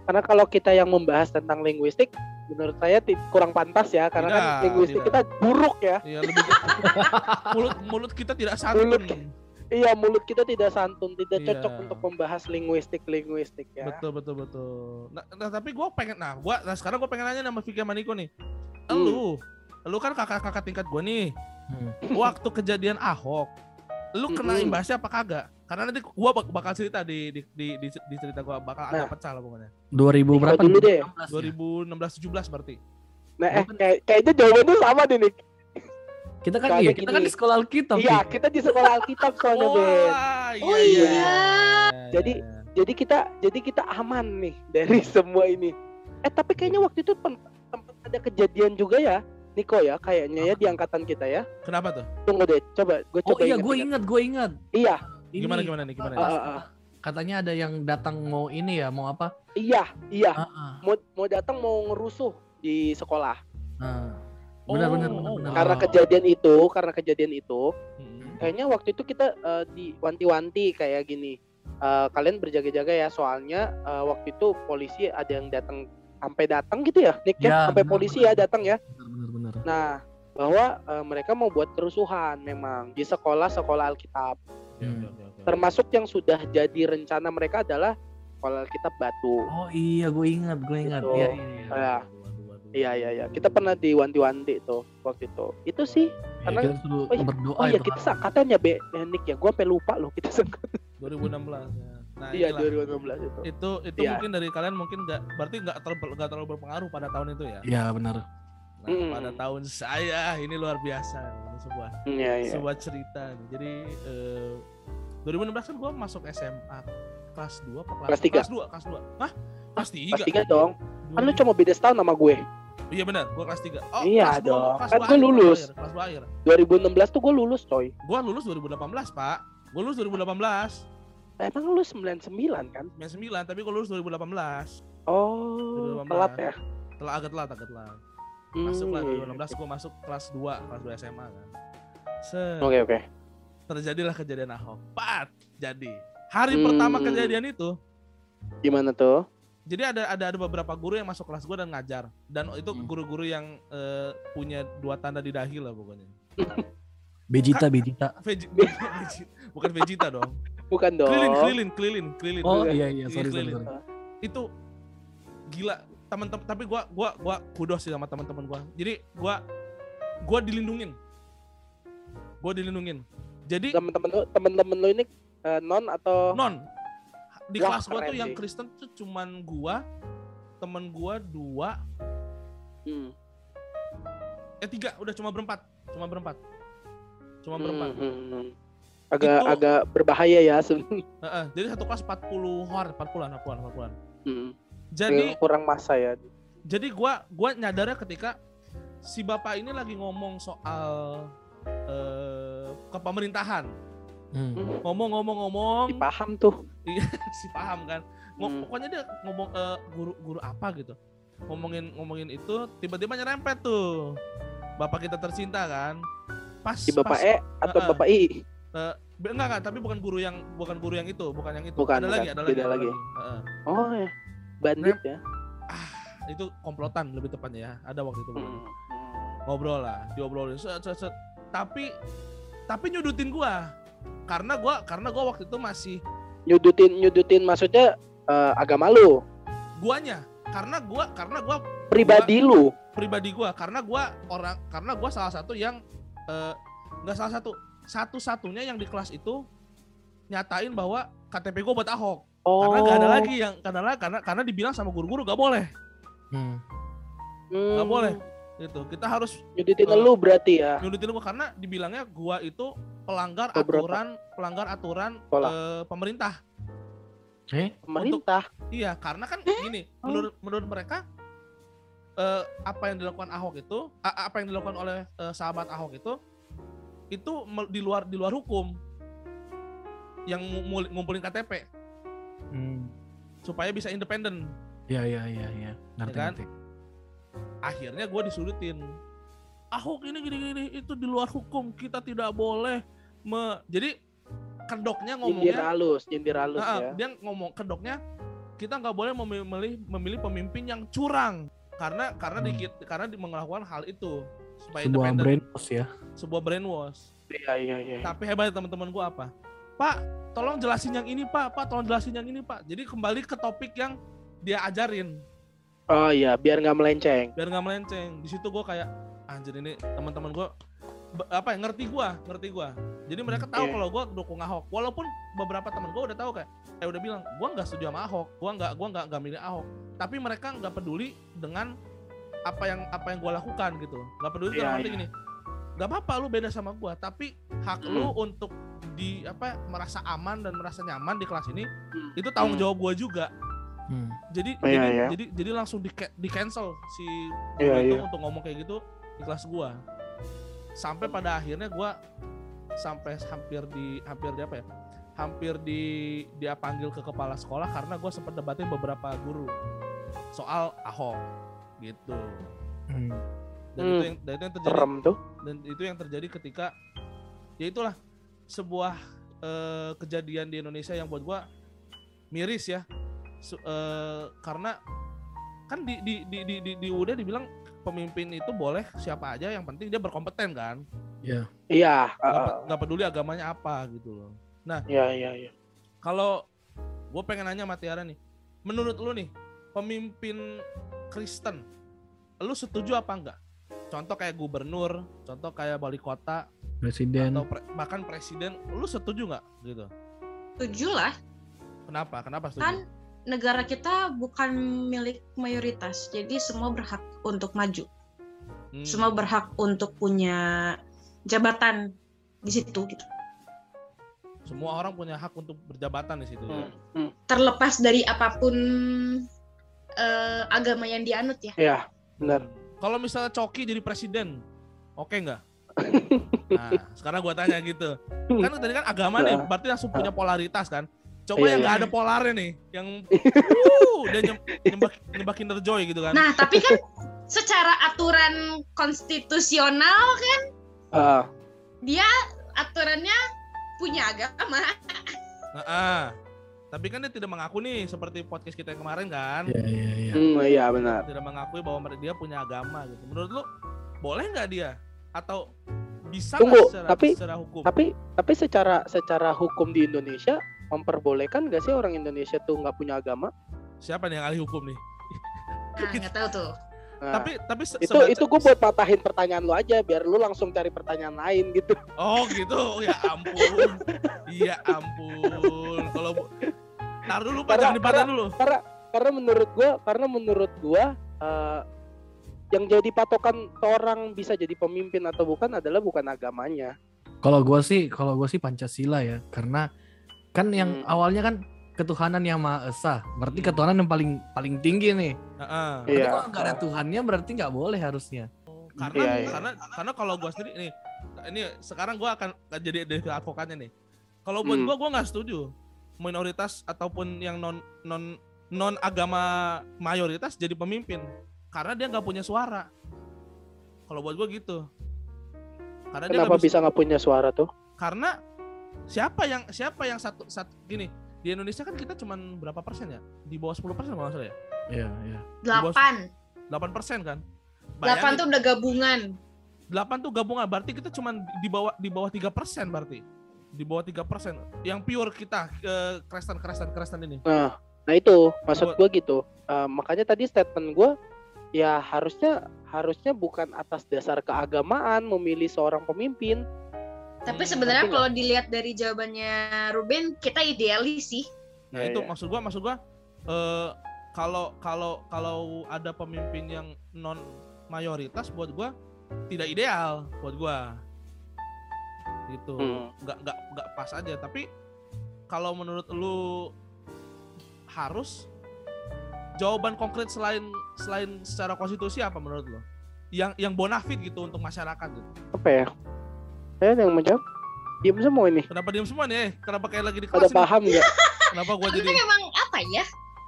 [SPEAKER 3] Karena kalau kita yang membahas tentang linguistik, menurut saya ti- kurang pantas ya. Karena kan
[SPEAKER 1] Tidak,
[SPEAKER 3] linguistik
[SPEAKER 1] tidak.
[SPEAKER 3] kita buruk ya.
[SPEAKER 1] ya lebih
[SPEAKER 3] [laughs]
[SPEAKER 1] mulut mulut kita tidak santun
[SPEAKER 3] Mulut- Iya, mulut kita tidak santun, tidak
[SPEAKER 1] Iya.
[SPEAKER 3] cocok untuk membahas linguistik linguistik ya.
[SPEAKER 1] betul betul betul nah, nah, tapi gue pengen nah gua nah sekarang gue pengen nanya sama Vicky sama Niko nih
[SPEAKER 3] Hmm.
[SPEAKER 1] lu lu kan kakak kakak tingkat gue nih
[SPEAKER 4] Hmm.
[SPEAKER 1] waktu kejadian Ahok, lu kena
[SPEAKER 3] Mm-mm.
[SPEAKER 1] imbasnya apa kagak? Karena nanti gua bak- bakal cerita di di di, di, di cerita gua bakal ada
[SPEAKER 3] Nah.
[SPEAKER 1] pecah lah pokoknya.
[SPEAKER 4] 2000 berapa?
[SPEAKER 3] dulu deh.
[SPEAKER 4] 2016 ya?
[SPEAKER 1] 2016 17 berarti.
[SPEAKER 3] Nah, eh,
[SPEAKER 4] Bukan.
[SPEAKER 3] kayak- kayaknya jawabannya sama nih. Nick.
[SPEAKER 4] Kita kan
[SPEAKER 3] Karena
[SPEAKER 4] iya, kita kan
[SPEAKER 3] gini.
[SPEAKER 4] di sekolah Alkitab.
[SPEAKER 3] Iya,
[SPEAKER 4] Pi.
[SPEAKER 3] kita di sekolah Alkitab soalnya, Ben.
[SPEAKER 1] Wah,
[SPEAKER 2] Oh
[SPEAKER 3] iya.
[SPEAKER 1] Jadi
[SPEAKER 3] Jadi-
[SPEAKER 1] iya.
[SPEAKER 3] Jadi kita jadi kita aman nih dari [laughs] semua ini. Eh, tapi kayaknya waktu itu pen- tempat ada kejadian juga ya, Niko ya, kayaknya ya di angkatan kita ya.
[SPEAKER 1] kenapa tuh?
[SPEAKER 3] Tunggu deh, coba gue
[SPEAKER 4] Oh
[SPEAKER 3] coba
[SPEAKER 4] iya,
[SPEAKER 3] ingat-
[SPEAKER 4] gue
[SPEAKER 3] ingat.
[SPEAKER 4] ingat, gue ingat.
[SPEAKER 3] Iya,
[SPEAKER 4] Ini,
[SPEAKER 1] Gimana gimana nih? Gimana?
[SPEAKER 3] Ah,
[SPEAKER 1] nih?
[SPEAKER 3] ah, ah.
[SPEAKER 4] Katanya ada yang datang mau ini ya, mau apa?
[SPEAKER 3] iya, iya.
[SPEAKER 4] Ah, ah.
[SPEAKER 3] Mau mau datang mau ngerusuh di sekolah.
[SPEAKER 4] Ah.
[SPEAKER 1] Oh,
[SPEAKER 4] Benar, benar, benar, benar.
[SPEAKER 3] Karena
[SPEAKER 4] Ah.
[SPEAKER 3] kejadian itu, karena kejadian itu,
[SPEAKER 1] Hmm.
[SPEAKER 3] kayaknya waktu itu kita eh, diwanti-wanti kayak gini Eh, kalian berjaga-jaga ya soalnya eh, waktu itu polisi ada yang datang sampai datang gitu ya Nick ya
[SPEAKER 4] Ya,
[SPEAKER 3] sampai
[SPEAKER 4] benar,
[SPEAKER 3] polisi
[SPEAKER 4] benar.
[SPEAKER 3] ya datang ya
[SPEAKER 4] Benar, benar, benar.
[SPEAKER 3] nah bahwa eh, mereka mau buat kerusuhan memang di sekolah-sekolah Alkitab.
[SPEAKER 1] Oke, oke, oke, oke.
[SPEAKER 3] Termasuk yang sudah jadi rencana mereka adalah sekolah Alkitab Batu.
[SPEAKER 4] Oh iya, gue ingat, gue ingat.
[SPEAKER 3] Gitu.
[SPEAKER 4] Iya, iya.
[SPEAKER 3] Eh, ya.
[SPEAKER 1] Waduh, waduh, waduh.
[SPEAKER 3] Iya iya iya. Kita pernah diwanti-wanti tuh waktu itu. Itu sih.
[SPEAKER 4] Iya,
[SPEAKER 3] karena-
[SPEAKER 4] kita suruh
[SPEAKER 3] Oh iya,
[SPEAKER 4] berdoa
[SPEAKER 3] Oh iya
[SPEAKER 4] itu
[SPEAKER 3] kita
[SPEAKER 4] kan.
[SPEAKER 3] seangkatan ya Be eh, Nick ya. Gua sampai lupa loh kita seangkatan.
[SPEAKER 1] 2016 ya. Nah,
[SPEAKER 3] Iya
[SPEAKER 1] inilah.
[SPEAKER 3] 2016 itu.
[SPEAKER 1] itu itu
[SPEAKER 3] Iya.
[SPEAKER 1] mungkin dari kalian mungkin nggak berarti nggak terlalu nggak terlalu berpengaruh pada tahun itu ya
[SPEAKER 4] Iya benar.
[SPEAKER 1] nah,
[SPEAKER 3] Mm.
[SPEAKER 1] pada tahun saya ini luar biasa ini sebuah
[SPEAKER 3] Iya iya.
[SPEAKER 1] sebuah cerita nih. jadi eh, 2016 kan gue masuk SMA kelas 2 apa kelas
[SPEAKER 3] Kelas tiga.
[SPEAKER 1] kelas 2 kelas 2 Hah? kelas 3
[SPEAKER 3] Kelas tiga dong. Kan
[SPEAKER 1] Hmm.
[SPEAKER 3] lu cuma beda setahun sama gue.
[SPEAKER 1] iya benar gue kelas 3 oh,
[SPEAKER 3] Iya
[SPEAKER 1] kelas dua,
[SPEAKER 3] dong.
[SPEAKER 1] kelas
[SPEAKER 3] Kan
[SPEAKER 1] dua
[SPEAKER 3] gua
[SPEAKER 1] akhir,
[SPEAKER 3] lulus.
[SPEAKER 1] kelas dua akhir, kelas dua akhir
[SPEAKER 3] 2016 tuh gue lulus coy.
[SPEAKER 1] gue lulus 2018 pak gue lulus 2018
[SPEAKER 3] Nah, Emang lu 99 kan?
[SPEAKER 1] 99 tapi gue lulus 2018
[SPEAKER 3] Oh,
[SPEAKER 1] 2018.
[SPEAKER 3] telat ya.
[SPEAKER 1] telah agak telat agak telat
[SPEAKER 3] Hmm,
[SPEAKER 1] masuklah
[SPEAKER 3] iya, iya.
[SPEAKER 1] 2016 gue masuk kelas 2 kelas 2 SMA kan Set,
[SPEAKER 3] Oke oke.
[SPEAKER 1] terjadilah kejadian Ahok pat jadi hari
[SPEAKER 3] Hmm.
[SPEAKER 1] pertama kejadian itu
[SPEAKER 3] Gimana tuh?
[SPEAKER 1] jadi ada ada ada beberapa guru yang masuk kelas gue dan ngajar dan itu
[SPEAKER 4] Hmm.
[SPEAKER 1] guru-guru yang eh, punya dua tanda di dahi lah pokoknya
[SPEAKER 4] Bejita, Bejita.
[SPEAKER 3] [laughs]
[SPEAKER 1] Veji- Veji- bukan Vegeta dong
[SPEAKER 3] Bukan dong.
[SPEAKER 1] Krilin Krilin Krilin Krilin
[SPEAKER 4] Oh iya iya,
[SPEAKER 1] Iya,
[SPEAKER 4] sorry sorry.
[SPEAKER 1] keliling.
[SPEAKER 4] sorry.
[SPEAKER 1] itu gila teman-teman tapi gua gua gua kudos sih sama teman-teman gua jadi gua gua dilindungin gua dilindungin jadi
[SPEAKER 3] Temen-temen lu, temen-temen lu ini eh, non atau
[SPEAKER 1] non di
[SPEAKER 3] Wah,
[SPEAKER 1] kelas gua
[SPEAKER 3] keren
[SPEAKER 1] tuh yang
[SPEAKER 3] sih.
[SPEAKER 1] Kristen tuh cuman gua temen gua dua
[SPEAKER 3] Hmm,
[SPEAKER 1] eh tiga udah cuma berempat cuma berempat cuma
[SPEAKER 3] hmm,
[SPEAKER 1] berempat
[SPEAKER 3] hmm, hmm. Agak
[SPEAKER 1] Itu-
[SPEAKER 3] agak berbahaya ya sebenarnya.
[SPEAKER 1] Heeh, jadi satu kelas 40 hor 40-an 40-an 40-an
[SPEAKER 3] Hmm.
[SPEAKER 1] jadi
[SPEAKER 3] kurang masa ya.
[SPEAKER 1] jadi gua gua nyadarnya ketika si bapak ini lagi ngomong soal eh, kepemerintahan
[SPEAKER 4] Hmm.
[SPEAKER 3] Hmm.
[SPEAKER 1] ngomong-ngomong-ngomong
[SPEAKER 3] Dipaham tuh.
[SPEAKER 1] [laughs] si paham kan Ngo-
[SPEAKER 3] Iya. Hmm.
[SPEAKER 1] pokoknya dia ngomong eh, guru guru apa gitu ngomongin ngomongin itu tiba-tiba nyerempet tuh bapak kita tercinta kan pas
[SPEAKER 3] Di Bapak
[SPEAKER 1] pas,
[SPEAKER 3] E atau
[SPEAKER 1] Heeh.
[SPEAKER 3] Bapak I.
[SPEAKER 1] be- enggak enggak, tapi bukan guru yang bukan guru yang itu bukan yang itu
[SPEAKER 3] Bukan,
[SPEAKER 1] ada
[SPEAKER 3] bukan.
[SPEAKER 1] lagi ada lagi,
[SPEAKER 3] Beda
[SPEAKER 1] ada
[SPEAKER 3] lagi.
[SPEAKER 1] Heeh.
[SPEAKER 3] Oh ya. Bandit ya.
[SPEAKER 1] itu komplotan lebih tepatnya ya ada waktu itu pokoknya.
[SPEAKER 3] Hmm, hmm.
[SPEAKER 1] ngobrol lah diobrolin set, set, set. tapi tapi nyudutin gua karena gua karena gua waktu itu masih
[SPEAKER 3] Nyudutin nyudutin maksudnya eh, agama lu,
[SPEAKER 1] guanya karena gua karena gua
[SPEAKER 3] pribadi lu.
[SPEAKER 1] pribadi gua karena gua orang karena gua salah satu yang eh, nggak salah satu satu-satunya yang di kelas itu nyatain bahwa KTP gua buat Ahok
[SPEAKER 3] Oh.
[SPEAKER 1] karena gak ada lagi yang karena karena karena dibilang sama guru-guru gak boleh
[SPEAKER 4] Hmm.
[SPEAKER 3] Hmm,
[SPEAKER 1] Nggak boleh. gitu kita harus
[SPEAKER 3] Nyudutin
[SPEAKER 1] Eh,
[SPEAKER 3] lu berarti ya.
[SPEAKER 1] nyudutin gua karena dibilangnya gua itu pelanggar
[SPEAKER 3] Pemberontak.
[SPEAKER 1] aturan pelanggar aturan
[SPEAKER 3] Sekolah.
[SPEAKER 1] eh, pemerintah
[SPEAKER 4] Eh?
[SPEAKER 3] Pemerintah.
[SPEAKER 1] Iya, karena kan gini, menurut menurut mereka eh, apa yang dilakukan Ahok itu, a- apa yang dilakukan oleh eh, sahabat Ahok itu itu mel- di luar di luar hukum. Yang ngu- mul- ngumpulin KTP
[SPEAKER 4] Hmm.
[SPEAKER 1] supaya bisa independen.
[SPEAKER 4] Iya iya iya iya. Ngerti
[SPEAKER 1] Ya kan?
[SPEAKER 4] ngerti.
[SPEAKER 1] Akhirnya gue disudutin. Ahok ini gini gini itu di luar hukum, kita tidak boleh me Jadi kedoknya
[SPEAKER 3] Nyindir
[SPEAKER 1] ngomongnya
[SPEAKER 3] halus, nyindir halus
[SPEAKER 1] Nah,
[SPEAKER 3] ya.
[SPEAKER 1] dia ngomong kedoknya kita nggak boleh memilih memilih pemimpin yang curang karena karena
[SPEAKER 4] Hmm.
[SPEAKER 1] dikit karena di- melakukan hal itu supaya
[SPEAKER 4] Sebuah
[SPEAKER 1] independen
[SPEAKER 4] brand post ya.
[SPEAKER 1] sebuah brainwash
[SPEAKER 3] Iya iya iya.
[SPEAKER 1] tapi hebat ya teman-teman gua apa pak tolong jelasin yang ini pak pak tolong jelasin yang ini pak jadi kembali ke topik yang dia ajarin
[SPEAKER 3] Oh iya, biar nggak melenceng.
[SPEAKER 1] biar nggak melenceng di situ gua kayak anjir ini teman-teman gua be- apa ya ngerti gua ngerti gua jadi mereka tahu
[SPEAKER 3] Iya.
[SPEAKER 1] kalau gua dukung Ahok walaupun beberapa teman gua udah tahu kayak eh udah bilang gua nggak setuju sama Ahok gua nggak gua nggak nggak milih Ahok tapi mereka nggak peduli dengan apa yang apa yang gua lakukan gitu nggak peduli
[SPEAKER 3] Iya,
[SPEAKER 1] dalam arti
[SPEAKER 3] iya. Hmm.
[SPEAKER 1] gini nggak apa-apa lu beda sama gua tapi hak lu untuk di apa merasa aman dan merasa nyaman di kelas ini
[SPEAKER 3] Hmm.
[SPEAKER 1] itu tanggung
[SPEAKER 3] Hmm.
[SPEAKER 1] jawab gua juga
[SPEAKER 4] Hmm.
[SPEAKER 1] jadi
[SPEAKER 3] Iya,
[SPEAKER 1] jadi,
[SPEAKER 3] iya.
[SPEAKER 1] jadi jadi langsung di, ca- di cancel si guru
[SPEAKER 3] Iya,
[SPEAKER 1] itu
[SPEAKER 3] iya.
[SPEAKER 1] untuk ngomong kayak gitu di kelas gua sampai pada akhirnya gua sampai hampir di hampir di apa ya hampir di dia panggil ke kepala sekolah karena gua sempat debatin beberapa guru soal ahok gitu
[SPEAKER 4] Hmm.
[SPEAKER 1] dan
[SPEAKER 3] Hmm.
[SPEAKER 1] itu yang dan itu yang terjadi
[SPEAKER 3] Serem tuh.
[SPEAKER 1] dan itu yang terjadi ketika ya itulah sebuah eh, kejadian di Indonesia yang buat gua miris ya Su- eh, karena kan di di di di di, di UUD dibilang pemimpin itu boleh siapa aja yang penting dia berkompeten kan
[SPEAKER 3] Iya,
[SPEAKER 1] nggak
[SPEAKER 3] heeh.
[SPEAKER 1] pe- nggak peduli agamanya apa gitu loh
[SPEAKER 3] iya, iya, iya.
[SPEAKER 1] kalau gue pengen nanya sama Tiara nih menurut lu nih pemimpin Kristen lu setuju apa enggak contoh kayak gubernur contoh kayak wali kota
[SPEAKER 5] presiden
[SPEAKER 1] atau pre- bahkan presiden lu setuju nggak gitu
[SPEAKER 2] Setuju lah
[SPEAKER 1] kenapa kenapa setuju
[SPEAKER 2] kan negara kita bukan milik mayoritas jadi semua berhak untuk maju
[SPEAKER 1] Hmm.
[SPEAKER 2] semua berhak untuk punya jabatan di situ gitu.
[SPEAKER 1] semua orang punya hak untuk berjabatan di situ ya.
[SPEAKER 3] Hmm, hmm.
[SPEAKER 2] terlepas dari apapun eh, agama yang dianut ya
[SPEAKER 3] Iya, benar.
[SPEAKER 1] Kalau misalnya Coki jadi presiden, oke
[SPEAKER 3] [laughs]
[SPEAKER 1] nggak? Nah, sekarang gua tanya gitu. Kan tadi kan agama nih, berarti langsung punya polaritas kan? Coba
[SPEAKER 3] Nah. Iya,
[SPEAKER 1] yang
[SPEAKER 3] iya.
[SPEAKER 1] nggak ada polarnya nih,
[SPEAKER 3] [laughs]
[SPEAKER 1] yang wuh, dia nyem- nyembah nyembah Kinder Joy gitu kan?
[SPEAKER 2] nah tapi kan secara aturan konstitusional
[SPEAKER 3] Heeh.
[SPEAKER 2] aturannya punya agama
[SPEAKER 1] Nah, ah. Tapi kan dia tidak mengaku nih, seperti podcast kita yang kemarin kan?
[SPEAKER 5] ya ya ya
[SPEAKER 3] Hmm, iya benar.
[SPEAKER 1] Tidak mengakui bahwa mer- dia punya agama gitu. Menurut lu boleh nggak dia? Atau bisa nggak
[SPEAKER 3] Tunggu,
[SPEAKER 1] secara,
[SPEAKER 3] tapi-
[SPEAKER 1] secara hukum?
[SPEAKER 3] Tapi tapi secara secara hukum di Indonesia memperbolehkan gak sih orang Indonesia tuh nggak punya agama?
[SPEAKER 1] Siapa nih yang ahli hukum nih?
[SPEAKER 2] nah nggak tahu tuh
[SPEAKER 3] Nah,
[SPEAKER 1] [laughs] Tapi tapi se-
[SPEAKER 3] itu
[SPEAKER 1] sebaca-
[SPEAKER 3] itu gue buat patahin pertanyaan lu aja biar lu langsung cari pertanyaan lain gitu. [laughs]
[SPEAKER 1] Oh gitu, ya ampun, ya ampun. Kalau bu- Ntar dulu pak, jangan
[SPEAKER 3] Karena-
[SPEAKER 1] dipatah dulu.
[SPEAKER 3] Karena menurut gua, karena menurut gua eh, yang jadi patokan orang bisa jadi pemimpin atau bukan adalah bukan agamanya.
[SPEAKER 5] kalau gua sih kalau gua sih pancasila ya karena kan yang
[SPEAKER 3] Hmm.
[SPEAKER 5] awalnya kan ketuhanan yang maha esa berarti
[SPEAKER 1] Hmm.
[SPEAKER 5] ketuhanan yang paling paling tinggi nih
[SPEAKER 1] Heeh.
[SPEAKER 5] Berarti
[SPEAKER 3] Iya.
[SPEAKER 5] kalau nggak ada Tuhannya berarti nggak boleh harusnya
[SPEAKER 1] Karena
[SPEAKER 3] Iya, iya.
[SPEAKER 1] karena karena kalau gua sendiri nih, ini sekarang gua akan jadi jadi advokatnya nih. Kalau buat
[SPEAKER 3] Hmm.
[SPEAKER 1] gua, gua nggak setuju minoritas ataupun yang non non non agama mayoritas jadi pemimpin karena dia nggak punya suara. Kalau buat gua gitu. Karena dia
[SPEAKER 3] Kenapa
[SPEAKER 1] nggak bisa
[SPEAKER 3] bisa nggak punya suara tuh?
[SPEAKER 1] karena siapa yang siapa yang satu satu gini di Indonesia kan kita cuman berapa persen ya di bawah 10 persen kalau nggak salah ya
[SPEAKER 5] Iya, iya.
[SPEAKER 2] delapan
[SPEAKER 1] 8 persen kan
[SPEAKER 2] delapan tuh udah gabungan
[SPEAKER 1] 8 tuh gabungan berarti kita cuman di bawah di bawah 3 persen berarti di bawah 3 persen yang pure kita eh, Kristen Kristen Kristen ini
[SPEAKER 3] Nah, nah itu
[SPEAKER 1] Buat-
[SPEAKER 3] maksud gua gitu. Eh, makanya tadi statement gua ya harusnya harusnya bukan atas dasar keagamaan memilih seorang pemimpin.
[SPEAKER 2] tapi
[SPEAKER 1] Hmm,
[SPEAKER 2] sebenarnya
[SPEAKER 3] tapi
[SPEAKER 2] kalau dilihat dari jawabannya Ruben kita idealis sih
[SPEAKER 1] nah
[SPEAKER 3] Iya,
[SPEAKER 1] itu
[SPEAKER 3] iya.
[SPEAKER 1] maksud gua maksud gua eh, kalau kalau kalau ada pemimpin yang non mayoritas buat gua tidak ideal buat gua gitu
[SPEAKER 3] Hmm.
[SPEAKER 1] nggak nggak nggak pas aja tapi kalau menurut lu harus jawaban konkret selain selain secara konstitusi apa menurut lu yang yang bonafit gitu untuk masyarakat gitu
[SPEAKER 3] apa ya? Saya ada yang menjawab. Diam semua ini.
[SPEAKER 1] kenapa diem semua nih eh? kenapa kayak lagi di
[SPEAKER 3] Ada
[SPEAKER 1] kelas nih?
[SPEAKER 3] paham nggak?
[SPEAKER 1] kenapa gua
[SPEAKER 2] tapi
[SPEAKER 1] jadi
[SPEAKER 2] kan emang apa ya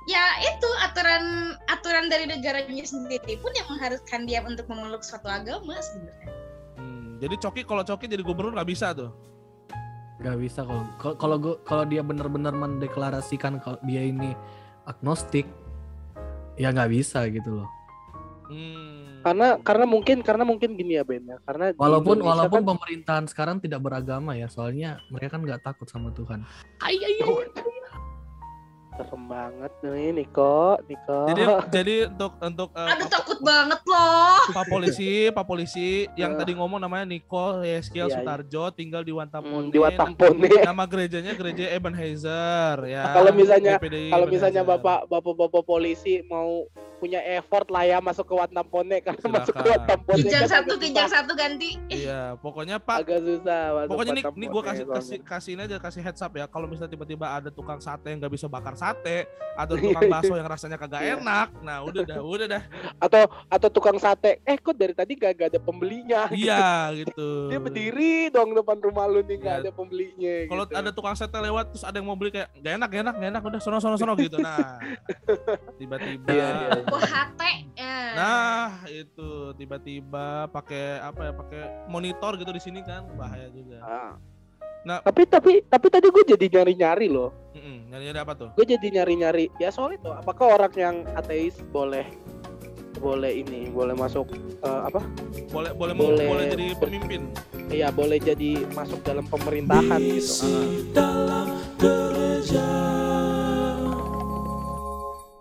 [SPEAKER 2] ya itu aturan aturan dari negaranya sendiri pun yang mengharuskan dia untuk memeluk suatu agama sebenarnya
[SPEAKER 1] Hmm, jadi coki kalau coki jadi gubernur nggak bisa tuh
[SPEAKER 5] Gak bisa kalau kalau- kalau gua- kalau dia benar-benar mendeklarasikan kalau dia ini agnostik, ya nggak bisa gitu loh.
[SPEAKER 1] Hmm.
[SPEAKER 3] Karena karena mungkin karena mungkin gini ya Ben ya. Karena di
[SPEAKER 5] Walaupun
[SPEAKER 3] Indonesia
[SPEAKER 5] walaupun
[SPEAKER 3] kan-
[SPEAKER 5] pemerintahan sekarang tidak beragama ya, soalnya mereka kan nggak takut sama Tuhan.
[SPEAKER 3] serem banget nih Niko, Niko.
[SPEAKER 1] jadi jadi untuk untuk eh,
[SPEAKER 2] aduh
[SPEAKER 1] Pak-
[SPEAKER 2] takut banget loh
[SPEAKER 1] Pak Polisi, Pak Polisi yang
[SPEAKER 3] Eh.
[SPEAKER 1] tadi ngomong namanya Niko Yeskiel
[SPEAKER 3] Iya, iya.
[SPEAKER 1] Sutarjo tinggal di Wantampone.
[SPEAKER 3] Hmm, [laughs] di Watampone.
[SPEAKER 1] Nama gerejanya gereja Ebenezer ya.
[SPEAKER 3] Kalau misalnya-
[SPEAKER 1] GPDI
[SPEAKER 3] Kalau misalnya
[SPEAKER 1] Ebenezer.
[SPEAKER 3] bapak bapak bapak polisi mau punya effort lah ya masuk ke Watampone karena masuk ke
[SPEAKER 1] Silakan.
[SPEAKER 3] Watampone.
[SPEAKER 2] kijang
[SPEAKER 3] kan
[SPEAKER 2] satu
[SPEAKER 3] agak
[SPEAKER 2] kijang
[SPEAKER 3] susah.
[SPEAKER 2] satu ganti Eh,
[SPEAKER 1] Iya, pokoknya Pak
[SPEAKER 3] Agak susah. masuk ya,
[SPEAKER 1] Pokoknya nih, nih gue
[SPEAKER 3] Watampone
[SPEAKER 1] kasih
[SPEAKER 3] soalnya.
[SPEAKER 1] kasih kasihin aja kasih heads up ya. Kalau misalnya tiba-tiba ada tukang sate yang nggak bisa bakar sate
[SPEAKER 3] [laughs]
[SPEAKER 1] atau tukang bakso yang rasanya kagak
[SPEAKER 3] Iya.
[SPEAKER 1] enak, nah udah dah, udah dah.
[SPEAKER 3] Atau atau tukang sate. Eh kok dari tadi gak, gak ada pembelinya?
[SPEAKER 1] Iya gitu.
[SPEAKER 3] Dia berdiri dong depan rumah lu nih
[SPEAKER 1] Iya.
[SPEAKER 3] gak ada pembelinya.
[SPEAKER 1] Kalau
[SPEAKER 3] gitu.
[SPEAKER 1] ada tukang sate lewat terus ada yang mau beli kayak gak enak, gak enak, gak enak udah sono sono sono gitu.
[SPEAKER 3] [laughs]
[SPEAKER 1] Nah, tiba-tiba
[SPEAKER 3] Iya, iya, iya.
[SPEAKER 2] wah hate ya.
[SPEAKER 1] Nah, itu tiba-tiba pakai apa ya? Pakai monitor gitu di sini kan bahaya juga.
[SPEAKER 3] Ah.
[SPEAKER 1] Nah-
[SPEAKER 3] tapi tapi tapi tadi gue jadi nyari-nyari loh.
[SPEAKER 1] Mm-mm, nyari-nyari apa tuh?
[SPEAKER 3] Gue jadi nyari-nyari. Ya soal itu apakah orang yang ateis boleh boleh ini boleh masuk eh, apa
[SPEAKER 1] boleh boleh mem- boleh,
[SPEAKER 3] Boleh.
[SPEAKER 1] jadi pemimpin
[SPEAKER 3] Iya gitu. Ah. boleh jadi masuk dalam pemerintahan gitu.
[SPEAKER 1] dalam gereja